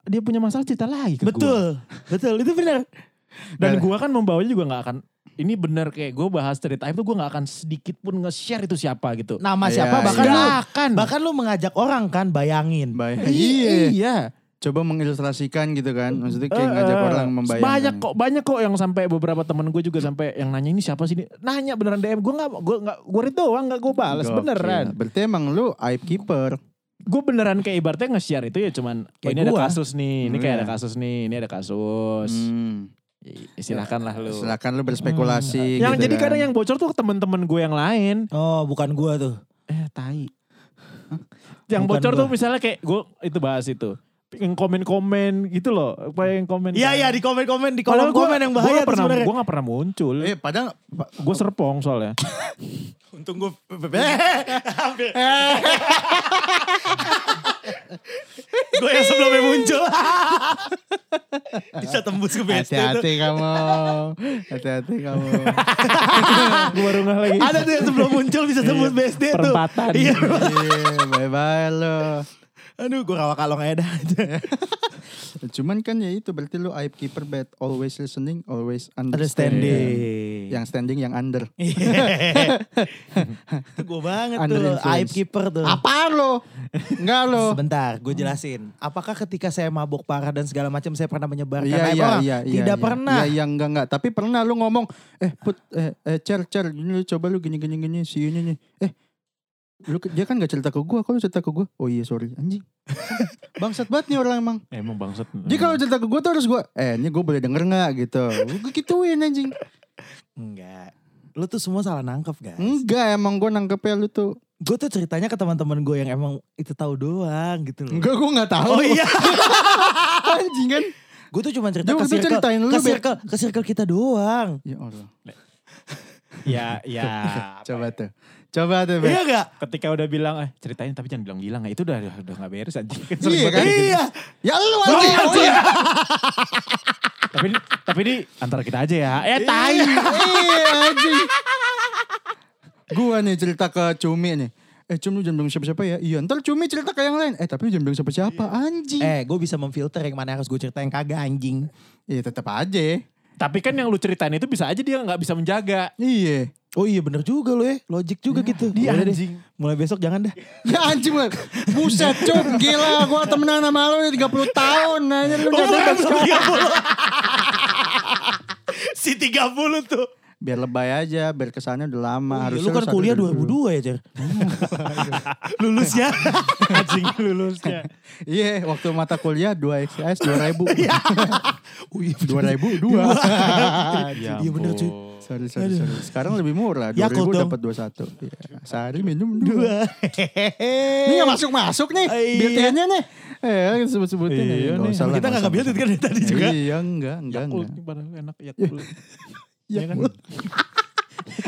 Speaker 4: dia punya masalah cerita lagi ke gua.
Speaker 3: Betul. Nah. Betul, itu benar.
Speaker 4: Dan
Speaker 1: Gak-
Speaker 4: gua kan membawanya juga nggak akan ini bener kayak gue bahas cerita aib tuh gue nggak akan sedikit pun nge-share itu siapa gitu.
Speaker 3: Nama
Speaker 1: Iya,
Speaker 3: siapa, Nah, bahkan
Speaker 1: iya.
Speaker 3: lu,
Speaker 4: Nggak akan.
Speaker 3: bahkan lu mengajak orang kan, bayangin.
Speaker 1: Baik.
Speaker 4: Iya.
Speaker 1: Iya.
Speaker 4: iya.
Speaker 1: Coba mengilustrasikan gitu kan. Maksudnya kayak
Speaker 4: Eh,
Speaker 1: ngajak
Speaker 4: eh,
Speaker 1: orang membayangkan.
Speaker 4: Banyak kok, banyak kok yang sampai beberapa temen gue juga sampai yang nanya ini siapa sih ini. Nanya beneran DM gue nggak, gue nggak, gue read doang nggak gue balas
Speaker 1: Gokil.
Speaker 4: beneran.
Speaker 1: Berarti emang lu aib keeper.
Speaker 4: Gue beneran kayak ibaratnya nge-share itu ya cuman oh,
Speaker 3: Kayak
Speaker 4: ini ada
Speaker 3: gua.
Speaker 4: kasus nih, ini
Speaker 1: Hmm,
Speaker 4: kayak
Speaker 1: iya.
Speaker 4: ada kasus nih, ini ada kasus.
Speaker 1: Hmm.
Speaker 4: Ya, Silahkanlah lu.
Speaker 1: Silakan lu berspekulasi
Speaker 4: Hmm. Yang
Speaker 1: gitu
Speaker 4: jadi
Speaker 1: kan.
Speaker 4: kadang yang bocor tuh temen-temen gue yang lain.
Speaker 3: Oh, bukan gua tuh.
Speaker 4: Eh tai. yang
Speaker 3: Bukan
Speaker 4: bocor
Speaker 3: gua.
Speaker 4: tuh misalnya kayak gue itu bahas itu. Yang komen-komen gitu loh. Apa yang komen. kan.
Speaker 3: Iya, iya, di komen-komen, di
Speaker 4: Padahal
Speaker 3: kolom
Speaker 4: gua-
Speaker 3: komen yang bahaya
Speaker 4: gua
Speaker 3: tuh
Speaker 4: pernah,
Speaker 3: sebenarnya. Iya.
Speaker 4: Gue gak pernah muncul.
Speaker 1: Eh padahal
Speaker 4: Gue serpong soalnya.
Speaker 3: Untung gue Gue yang sebelumnya muncul. Bisa tembus ke BSD tuh.
Speaker 1: hati-hati kamu. Hati-hati kamu.
Speaker 4: gue baru ngeh lagi.
Speaker 3: Ada tuh yang sebelum muncul bisa tembus BSD tuh.
Speaker 4: Perempatan.
Speaker 3: Iya.
Speaker 1: Iya, bye-bye lu.
Speaker 3: Aduh, gue rawa kalong aja dah.
Speaker 1: Cuman kan ya itu berarti lu aib keeper bad always listening always understanding.
Speaker 3: Understanding.
Speaker 1: Yang standing yang under.
Speaker 3: Itu gue banget
Speaker 1: Under
Speaker 3: tuh.
Speaker 1: influence.
Speaker 3: Aib keeper tuh.
Speaker 1: Apaan lo? Enggak lo.
Speaker 3: Sebentar, gue jelasin. Apakah ketika saya mabuk parah dan segala macam saya pernah menyebarkan
Speaker 1: Iya
Speaker 3: aib
Speaker 1: iya
Speaker 3: orang?
Speaker 1: iya iya.
Speaker 3: Tidak
Speaker 1: iya.
Speaker 3: pernah.
Speaker 1: Iya iya enggak enggak, tapi pernah lu ngomong eh put eh, eh cer cer ini lu coba lu gini gini gini si ini nih. Eh lu ke- dia kan gak cerita ke gua, kalau cerita ke gua. Oh iya sorry anjing. Bangsat banget nih orang emang.
Speaker 4: Emang bangsat.
Speaker 1: Jadi kalau cerita ke gua tuh harus gua eh ini gua boleh denger enggak gitu. Gua gituin anjing.
Speaker 3: Enggak. Lu tuh semua salah nangkep, guys.
Speaker 1: Enggak emang gua nangkepnya lu tuh.
Speaker 3: Gue tuh ceritanya ke teman-teman gue yang emang itu tahu doang gitu loh.
Speaker 1: Enggak gua enggak tahu.
Speaker 3: Oh iya.
Speaker 1: anjing kan.
Speaker 3: gue tuh cuma
Speaker 1: Dia
Speaker 3: cerita ke
Speaker 1: waktu itu
Speaker 3: circle,
Speaker 1: ceritain lu,
Speaker 3: ke
Speaker 1: Beb.
Speaker 3: circle, ke circle kita doang.
Speaker 1: Ya Allah.
Speaker 4: Ya, ya.
Speaker 1: Coba tuh. Coba tuh. Beb.
Speaker 3: Iya gak?
Speaker 4: Ketika udah bilang, eh ceritain tapi jangan bilang-bilang. ya. Itu udah udah, udah gak beres anjing. Kan sering
Speaker 1: Iya
Speaker 4: banget
Speaker 1: kan?
Speaker 4: kayak gitu.
Speaker 1: Iya. Ya lu anjing.
Speaker 3: iya,
Speaker 1: Oh, iya.
Speaker 4: Tapi, ini- tapi ini antara kita aja ya. Eh tai.
Speaker 1: Iya anjing. Gua nih cerita ke Cumi nih. Eh Cumi jangan bilang siapa-siapa ya. Iya ntar Cumi cerita ke yang lain. Eh tapi lu jangan bilang siapa-siapa anjing.
Speaker 3: Eh, gue bisa memfilter yang mana harus gue cerita yang kagak anjing.
Speaker 1: Iya tetap aja.
Speaker 4: Tapi kan yang lu ceritain itu bisa aja dia gak bisa menjaga.
Speaker 1: Iya.
Speaker 3: Oh iya bener juga lo ya, logik juga
Speaker 2: Iya.
Speaker 3: gitu.
Speaker 4: dia
Speaker 3: Udah deh,
Speaker 4: anjing.
Speaker 3: Mulai besok jangan dah.
Speaker 1: Ya anjing lu. Buset Cum. Gila gua temenan sama lu ya 30 tahun. Nanya lu jadi
Speaker 3: Oh, bukan,
Speaker 1: kayak
Speaker 3: belum
Speaker 1: sekarang.
Speaker 3: 30. si 30 tuh.
Speaker 1: Biar lebay aja. Biar kesannya udah lama.
Speaker 3: Iya,
Speaker 1: Harusnya
Speaker 3: lu kan
Speaker 1: satu
Speaker 3: kuliah
Speaker 1: dari dulu.
Speaker 3: 2002 ya, Cer. Lulusnya.
Speaker 4: anjing lulusnya.
Speaker 1: Iya waktu mata kuliah 2 XS
Speaker 3: Iya.
Speaker 1: 2000.
Speaker 3: oh, iya,
Speaker 1: 2002.
Speaker 4: Ya
Speaker 3: Iya, bener, cuy.
Speaker 4: ampun.
Speaker 1: Sorry, sorry, sorry. Sekarang lebih murah. 2000
Speaker 3: Yakult dong.
Speaker 1: dapat 21. Iya. Sehari minum dua.
Speaker 3: Dua.
Speaker 1: Ini gak masuk-masuk nih.
Speaker 3: Eh, iya.
Speaker 1: BTN-nya nih. Eh, sebut-sebutin aja.
Speaker 4: Iya nih.
Speaker 1: Nggak usah lah,
Speaker 2: Kita
Speaker 1: nggak
Speaker 2: gak
Speaker 1: usah.
Speaker 2: ngebuildin kan dari tadi juga.
Speaker 1: Iya, enggak, enggak,
Speaker 4: Yakult
Speaker 1: enggak.
Speaker 4: nih padahal enak ya, Yakult. Iya kan?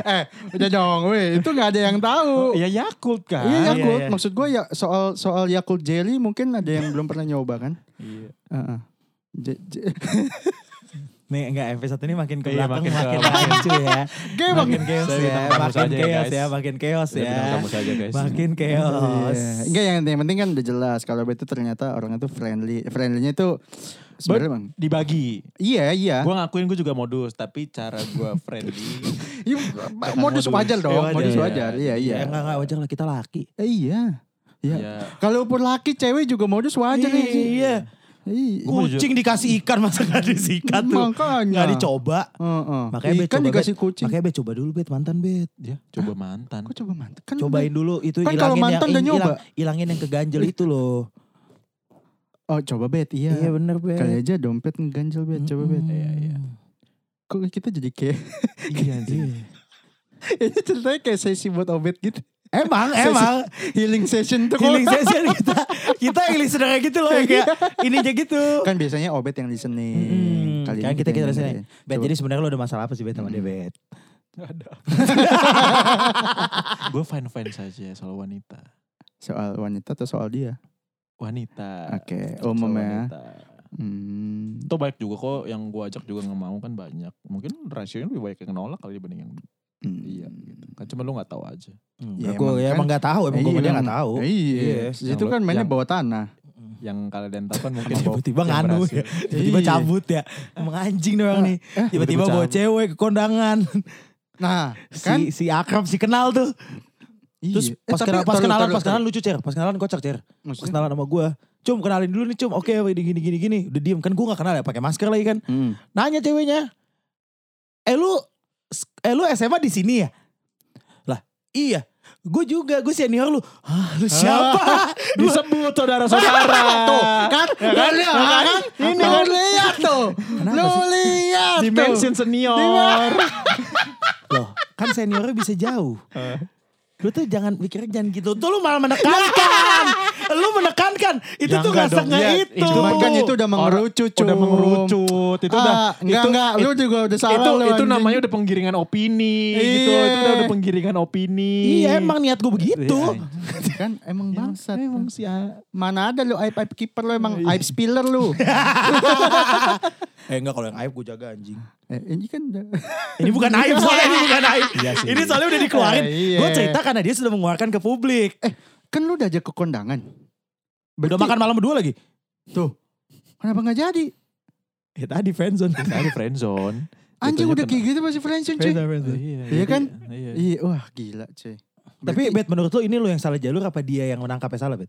Speaker 1: Eh, udah dong, weh, itu nggak ada yang
Speaker 3: Oh,
Speaker 1: tahu.
Speaker 4: Iya Yakult
Speaker 3: Ah,
Speaker 4: kan.
Speaker 1: Iya
Speaker 2: iya,
Speaker 1: Yakult,
Speaker 2: iya.
Speaker 1: maksud gue ya soal soal Yakult Jelly mungkin ada yang belum pernah nyoba kan?
Speaker 4: Iya.
Speaker 1: Heeh. Je- je-
Speaker 2: Nih enggak episode ini makin ke
Speaker 4: Iya,
Speaker 2: belakang
Speaker 4: makin
Speaker 2: makin,
Speaker 4: ke-
Speaker 2: rancu ya.
Speaker 1: Game
Speaker 2: makin chaos
Speaker 4: Saya
Speaker 2: ya,
Speaker 4: bintang tamu
Speaker 2: makin
Speaker 4: saja ya,
Speaker 2: chaos
Speaker 4: guys.
Speaker 2: ya, makin chaos
Speaker 4: Kita
Speaker 2: ya.
Speaker 4: bintang tamu saja, guys.
Speaker 2: Makin chaos.
Speaker 1: Iya. Enggak yang, yang penting kan udah jelas kalau itu ternyata orang itu friendly. Friendlynya itu sebenarnya bang.
Speaker 4: Dibagi.
Speaker 1: Iya iya.
Speaker 4: Gue ngakuin gue juga modus, tapi cara gue friendly.
Speaker 1: Iya, modus
Speaker 4: modus.
Speaker 1: wajar dong,
Speaker 4: Iya, wajar,
Speaker 1: modus
Speaker 4: iya.
Speaker 1: wajar. Iya iya.
Speaker 3: Ya enggak enggak wajar lah kita laki.
Speaker 1: Eh, Iya. Iya.
Speaker 4: Iya.
Speaker 1: Kalau pun laki cewek juga modus wajar nih.
Speaker 3: Iya.
Speaker 1: Iya.
Speaker 3: Kucing dikasih ikan masa gak disikat tuh.
Speaker 1: Makanya.
Speaker 3: Gak dicoba.
Speaker 1: Heeh.
Speaker 3: Makanya Bet,
Speaker 1: Iya. Ikan
Speaker 3: coba,
Speaker 1: dikasih
Speaker 3: Bet.
Speaker 1: kucing.
Speaker 3: Makanya Bet coba dulu Bet mantan Bet.
Speaker 1: Iya.
Speaker 4: Dia coba mantan.
Speaker 1: Kok coba mantep? Kan
Speaker 3: Cobain dulu itu
Speaker 1: Kan
Speaker 3: hilangin
Speaker 1: kalau mantan
Speaker 3: yang
Speaker 1: udah
Speaker 3: hilang-
Speaker 1: nyoba.
Speaker 3: Hilangin yang keganjel itu loh.
Speaker 1: Oh coba bet, Hmm. iya.
Speaker 3: Iya bener Bet.
Speaker 1: Kali aja dompet ngeganjel bet, coba bet.
Speaker 3: Mm-mm.
Speaker 4: Iya, iya.
Speaker 1: Kok kita jadi kayak
Speaker 3: Iya anjing.
Speaker 1: ini ceritanya kayak sesi buat obet gitu.
Speaker 3: Emang, emang.
Speaker 1: Healing session tuh.
Speaker 3: Healing session kita. Kita yang listener gitu loh. yang Kayak ini aja gitu.
Speaker 1: Kan biasanya obet yang listening.
Speaker 3: Mm-mm.
Speaker 1: Kali ini
Speaker 3: Kan kita
Speaker 1: yang
Speaker 3: kita listening.
Speaker 1: dengerin.
Speaker 3: Bet
Speaker 1: Coba.
Speaker 3: jadi sebenarnya lo ada masalah apa sih Bet sama dia Bet?
Speaker 4: Gue fine fine saja soal wanita.
Speaker 1: soal wanita atau soal dia?
Speaker 4: Wanita.
Speaker 1: Oke,
Speaker 4: Soal
Speaker 1: umum ya.
Speaker 4: wanita.
Speaker 1: Hmm.
Speaker 4: Itu banyak juga kok yang gue ajak juga nggak mau kan banyak. Mungkin rasionya lebih banyak yang nolak kali dibanding yang
Speaker 1: hmm,
Speaker 4: iya. Gitu. Kan cuma lu nggak tahu aja.
Speaker 1: Ya,
Speaker 3: gue
Speaker 1: emang
Speaker 3: ya
Speaker 1: kan.
Speaker 3: emang gak tahu, emang gue
Speaker 1: Iya,
Speaker 3: sama dia
Speaker 1: emang.
Speaker 3: gak tahu.
Speaker 1: Iya.
Speaker 4: Yes.
Speaker 1: Itu
Speaker 4: Yang
Speaker 1: kan
Speaker 4: lo-
Speaker 1: mainnya
Speaker 4: yang-
Speaker 1: bawah tanah.
Speaker 4: Yang kalian tahu mungkin
Speaker 3: Tiba-tiba nganu ya, tiba-tiba
Speaker 1: Iya.
Speaker 3: cabut ya, emang anjing nih orang nih. Tiba-tiba
Speaker 4: tiba-tiba
Speaker 3: bawa
Speaker 4: cabut.
Speaker 3: cewek ke kondangan,
Speaker 1: Nah, kan
Speaker 3: si si akrab si kenal tuh. Terus
Speaker 1: Iya. Eh,
Speaker 3: pas,
Speaker 1: tapi
Speaker 3: kena- pas
Speaker 1: taruh,
Speaker 3: kenalan,
Speaker 1: taruh,
Speaker 3: pas kenalan lucu cer, pas kenalan kocak
Speaker 1: taruh.
Speaker 3: cer. Pas
Speaker 1: kan? Maksudnya?
Speaker 3: kenalan sama gue, cum kenalin dulu nih cum, oke gini gini gini gini, udah diem kan gue gak kenal ya, pakai masker lagi kan.
Speaker 1: Hmm.
Speaker 3: Nanya ceweknya, eh lu, eh lu SMA di sini ya? Lah iya, gue juga, gue senior lu. Hah, lu siapa?
Speaker 4: Disebut saudara-saudara.
Speaker 1: Tuh,
Speaker 3: Ya
Speaker 1: kan? Kan lihat kan? Ini kan lihat tuh. Lu lihat
Speaker 3: kan
Speaker 1: tuh.
Speaker 4: Dimension senior.
Speaker 3: Loh, kan seniornya bisa jauh.
Speaker 1: Eh.
Speaker 3: Lu tuh jangan mikirnya jangan gitu. Tuh lu malah
Speaker 1: Nah.
Speaker 3: menekankan. lu menekankan. Itu tuh
Speaker 4: Jangan
Speaker 3: gak
Speaker 4: dong,
Speaker 3: sengaja
Speaker 4: ya.
Speaker 3: itu.
Speaker 4: Itu
Speaker 1: Cuman kan itu udah mengerucut.
Speaker 4: Udah
Speaker 1: Cum.
Speaker 4: mengerucut. Itu
Speaker 1: Ah,
Speaker 4: udah
Speaker 1: enggak,
Speaker 4: itu,
Speaker 1: enggak. Lu juga udah salah.
Speaker 4: itu
Speaker 1: lu,
Speaker 4: itu
Speaker 1: anjing.
Speaker 4: namanya udah penggiringan opini
Speaker 1: Iya.
Speaker 4: gitu. Itu udah, udah penggiringan opini.
Speaker 3: Iya emang niat gue begitu.
Speaker 1: kan emang bangsat.
Speaker 4: Emang si A-
Speaker 1: Mana ada lu aib aib kiper lu emang aib spiller lu. iya.
Speaker 3: Eh enggak kalau yang aib gue jaga anjing.
Speaker 1: eh, ini kan udah.
Speaker 3: Ini bukan aib soalnya ini bukan aib. Ini soalnya udah dikeluarin.
Speaker 1: Iya Eh, iya.
Speaker 3: Gue cerita karena dia sudah mengeluarkan ke publik.
Speaker 1: Eh, kan lu udah ajak ke kondangan.
Speaker 3: udah
Speaker 1: Berarti-
Speaker 3: makan malam berdua lagi.
Speaker 1: Tuh. Kenapa nggak jadi?
Speaker 3: Ya tadi fanzone.
Speaker 4: Tadi friendzone.
Speaker 1: Anjing
Speaker 4: Jatuhnya
Speaker 1: udah
Speaker 4: kena-
Speaker 1: kayak gitu masih friendzone cuy.
Speaker 4: Iya,
Speaker 1: Iya kan?
Speaker 4: Iya.
Speaker 1: Iya, wah gila cuy.
Speaker 3: Tapi Bet menurut lo ini lo yang salah jalur apa dia yang menangkapnya salah Bet?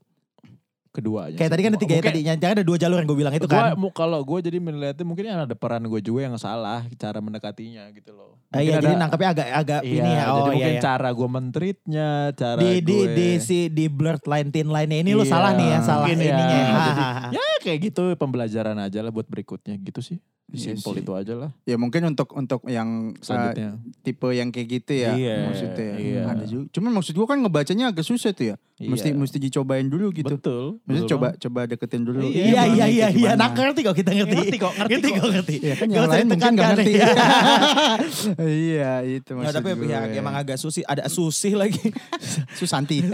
Speaker 4: Keduanya.
Speaker 3: Kayak tadi kan ada tiga ya
Speaker 4: Mungkin-
Speaker 3: tadi. Jangan ada dua jalur yang gue bilang itu kan.
Speaker 4: Gua mu- kalau gue jadi melihatnya mungkin ada peran gue juga yang salah cara mendekatinya gitu loh.
Speaker 3: Ah, iya,
Speaker 4: Mungkin
Speaker 3: jadi
Speaker 4: ada-
Speaker 3: nangkepnya agak agak
Speaker 4: Iya,
Speaker 3: ini ya. Oh,
Speaker 4: jadi
Speaker 3: iya,
Speaker 4: mungkin
Speaker 3: iya.
Speaker 4: cara gue mentreatnya, cara
Speaker 3: di di
Speaker 4: gue...
Speaker 3: di si di blurred line thin line ini lo
Speaker 4: Iya,
Speaker 3: salah nih ya, salah
Speaker 4: mungkin ya.
Speaker 3: ininya. Ya.
Speaker 4: Jadi, ya kayak gitu pembelajaran aja lah buat berikutnya gitu sih.
Speaker 3: Iya
Speaker 4: Simpel
Speaker 1: sih.
Speaker 4: itu aja lah
Speaker 3: Ah,
Speaker 1: Ya mungkin untuk untuk yang uh,
Speaker 4: selanjutnya.
Speaker 1: tipe yang kayak gitu ya
Speaker 4: Iya,
Speaker 1: maksudnya. ya.
Speaker 4: iya.
Speaker 1: Ada juga. Cuman maksud gua kan ngebacanya agak susah tuh ya. Mesti
Speaker 4: Iya.
Speaker 1: mesti dicobain dulu gitu.
Speaker 4: Betul.
Speaker 1: Maksudnya
Speaker 4: betul
Speaker 1: coba
Speaker 4: banget.
Speaker 1: coba deketin dulu.
Speaker 3: Iya iya iya
Speaker 1: kayak
Speaker 3: iya,
Speaker 1: gimana.
Speaker 3: nah ngerti kok kita ngerti.
Speaker 4: Ngerti kok, ngerti
Speaker 3: kok, ngerti.
Speaker 1: Iya kan
Speaker 3: Gak
Speaker 1: yang
Speaker 3: usah
Speaker 1: lain mungkin gak
Speaker 3: ditekankan,
Speaker 1: ngerti.
Speaker 3: iya.
Speaker 1: iya itu
Speaker 3: Nah,
Speaker 1: maksud
Speaker 3: tapi
Speaker 1: gue.
Speaker 3: ya, emang agak susih, ada susih lagi.
Speaker 1: Susanti.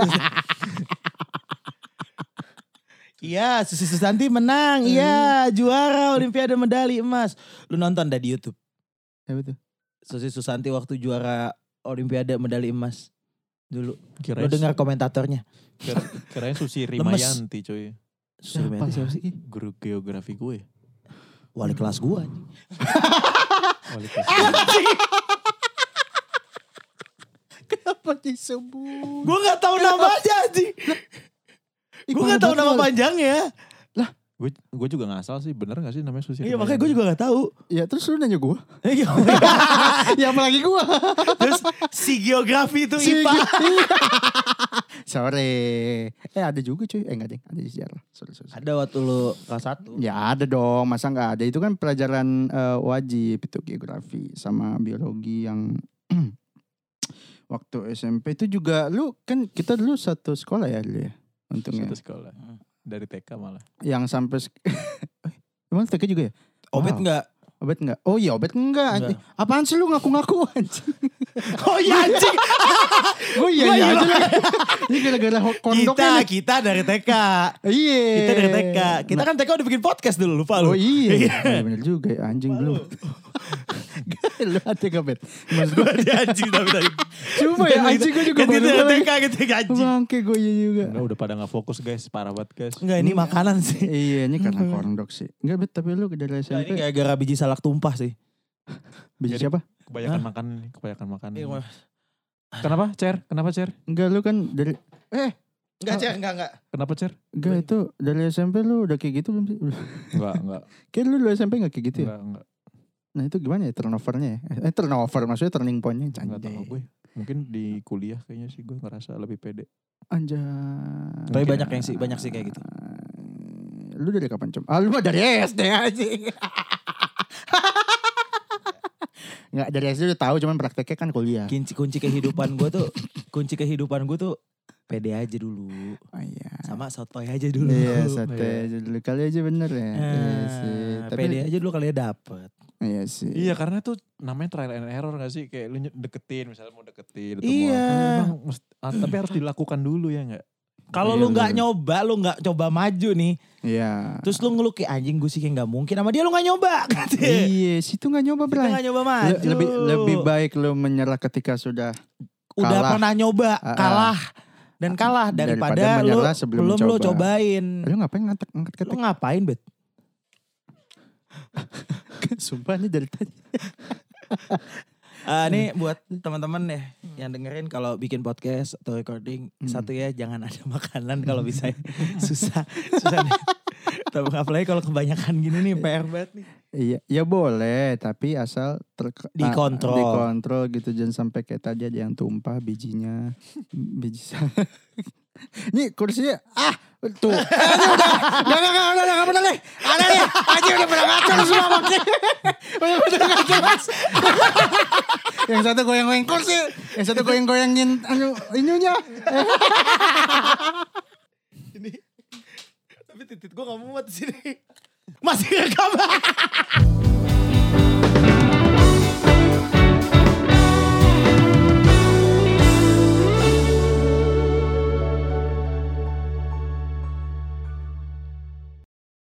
Speaker 3: Iya, Susi Susanti menang. Iya,
Speaker 4: Hmm.
Speaker 3: juara Olimpiade medali emas. Lu nonton dah di YouTube.
Speaker 1: Siapa tuh?
Speaker 3: Susi Susanti waktu juara Olimpiade medali emas dulu.
Speaker 4: Kirain,
Speaker 3: Lu dengar komentatornya.
Speaker 4: kira- kirain Susi
Speaker 3: Lemes.
Speaker 4: Rimayanti cuy.
Speaker 3: Susi Susanti siapa sih?
Speaker 4: Guru geografi gue.
Speaker 3: Wali kelas gua. anjing.
Speaker 4: Wali kelas gue.
Speaker 1: Kenapa disebut?
Speaker 3: Gue gak tahu namanya anjing. Gue gak tahu nama panjangnya.
Speaker 4: Gue gue juga nggak asal sih, bener gak sih namanya Susi?
Speaker 3: Iya makanya gue juga gak tahu.
Speaker 1: Ya terus lu nanya gue.
Speaker 3: Iya.
Speaker 1: ya apalagi gue.
Speaker 3: Terus si geografi itu
Speaker 1: Si-
Speaker 3: IPA.
Speaker 1: Iya. Sore. Eh ada juga cuy. Eh enggak deh. Ada di sejarah. Sorry, sorry, sorry.
Speaker 3: Ada waktu lu kelas 1.
Speaker 1: Ya ada dong. Masa enggak ada. Itu kan pelajaran eh, wajib. Itu geografi sama biologi yang... waktu SMP itu juga lu kan kita dulu satu sekolah ya dulu ya. Untungnya.
Speaker 4: Satu sekolah. dari TK malah.
Speaker 1: yang sampai sek- Eh, Emang TK juga ya?
Speaker 3: Obet
Speaker 1: Wow.
Speaker 3: enggak?
Speaker 1: Obet enggak? Oh iya obet enggak. anjing. Apaan sih lu ngaku-ngaku anjing?
Speaker 3: Oh iya anjing.
Speaker 1: Oh iya iya aja lah. Ini gara-gara ho-
Speaker 3: kita,
Speaker 1: kondoknya. nih.
Speaker 3: kita dari TK.
Speaker 1: Iya.
Speaker 3: Kita dari TK. Kita kan TK udah bikin podcast dulu, lupa lu.
Speaker 1: Oh iya. Iya, Bener juga ya anjing belum. Lu hati obet. Maksud gue
Speaker 3: Dia anjing tapi tadi.
Speaker 1: Coba ya anjing gue juga
Speaker 3: Kan kita dari
Speaker 1: baru
Speaker 3: TK gitu anjing.
Speaker 1: Bangke gue iya juga.
Speaker 4: Enggak udah pada nggak fokus guys, parah banget guys.
Speaker 3: Enggak ini makanan sih.
Speaker 1: Iya ini karena kondok sih. Enggak bet tapi lu dari
Speaker 3: Nah,
Speaker 1: SMP.
Speaker 3: ini gara-gara biji salak tumpah sih.
Speaker 1: Bisa
Speaker 4: Jadi-
Speaker 1: siapa?
Speaker 4: Kebanyakan makan nih, kebanyakan makan.
Speaker 3: Iya,
Speaker 4: Kenapa, Cer? Kenapa, Cer?
Speaker 1: Enggak lu kan dari eh
Speaker 3: Enggak, Cek, enggak, enggak.
Speaker 4: Kenapa, Cer?
Speaker 1: enggak itu dari SMP lu udah kayak gitu belum sih?
Speaker 4: Enggak, enggak.
Speaker 1: Kayak lu dari SMP enggak kayak gitu ya?
Speaker 4: Enggak, enggak.
Speaker 1: Nah itu gimana ya turnovernya ya? Eh turnover maksudnya turning pointnya
Speaker 4: Enggak tahu
Speaker 1: Anjay.
Speaker 4: gue. Mungkin di kuliah kayaknya sih gue ngerasa lebih pede.
Speaker 1: Anjay.
Speaker 3: Tapi banyak yang sih, banyak sih kayak gitu.
Speaker 1: Lu dari kapan cum? Ah lu mah dari SD anjing. Enggak dari SD udah tahu cuman prakteknya kan kuliah.
Speaker 3: Kunci kunci kehidupan gue tuh, kunci kehidupan gue tuh pede aja dulu.
Speaker 1: Oh iya.
Speaker 3: Sama sotoy aja dulu.
Speaker 1: Iya, sate aja dulu kali aja bener ya. iya sih.
Speaker 3: Eh,
Speaker 1: Tapi
Speaker 3: pede aja dulu kalian dapet.
Speaker 1: iya sih.
Speaker 4: Iya karena tuh namanya trial and error gak sih? Kayak lu ny- deketin misalnya mau deketin.
Speaker 3: Iya.
Speaker 4: ah, tapi harus dilakukan dulu ya gak?
Speaker 1: Iya,
Speaker 3: Kalau lu nggak
Speaker 1: bener.
Speaker 3: nyoba, lu nggak coba maju nih.
Speaker 1: Iya.
Speaker 3: Terus lu ngeluh kayak anjing gue sih kayak nggak mungkin sama dia lu nggak nyoba. Gitu.
Speaker 1: Iya, situ nggak nyoba
Speaker 3: Lu
Speaker 1: berani.
Speaker 3: nggak nyoba maju.
Speaker 1: lebih lebih baik lu menyerah ketika sudah
Speaker 3: udah
Speaker 1: kalah.
Speaker 3: pernah nyoba,
Speaker 1: Ah, ah.
Speaker 3: kalah dan kalah
Speaker 1: Daripada
Speaker 3: daripada, lu
Speaker 1: menyerah sebelum
Speaker 3: belum lu
Speaker 1: coba.
Speaker 3: cobain.
Speaker 1: lu ngapain ngangkat ngangkat
Speaker 3: Lu
Speaker 1: ketik
Speaker 3: ngapain, Bet?
Speaker 1: sumpah nih dari tadi
Speaker 3: Ah, ini buat teman-teman ya yang dengerin kalau bikin podcast atau recording satu ya jangan ada makanan kalau bisa ya. susah susah nih. Tapi apalagi kalau kebanyakan gini nih PR banget nih.
Speaker 1: iya ya boleh tapi asal ter- ah,
Speaker 3: Dikontrol.
Speaker 1: dikontrol gitu jangan sampai kayak tadi ada yang tumpah bijinya biji sa- Nih kursinya ah tuh Eh, ini udah udah udah udah udah nggak pernah deh ada deh aja udah pernah ngaco lu semua pakai udah udah ngaco mas yang satu goyang-goyang kursi yang satu goyang-goyangin anu inunya
Speaker 3: Tapi titik gue gak muat sini.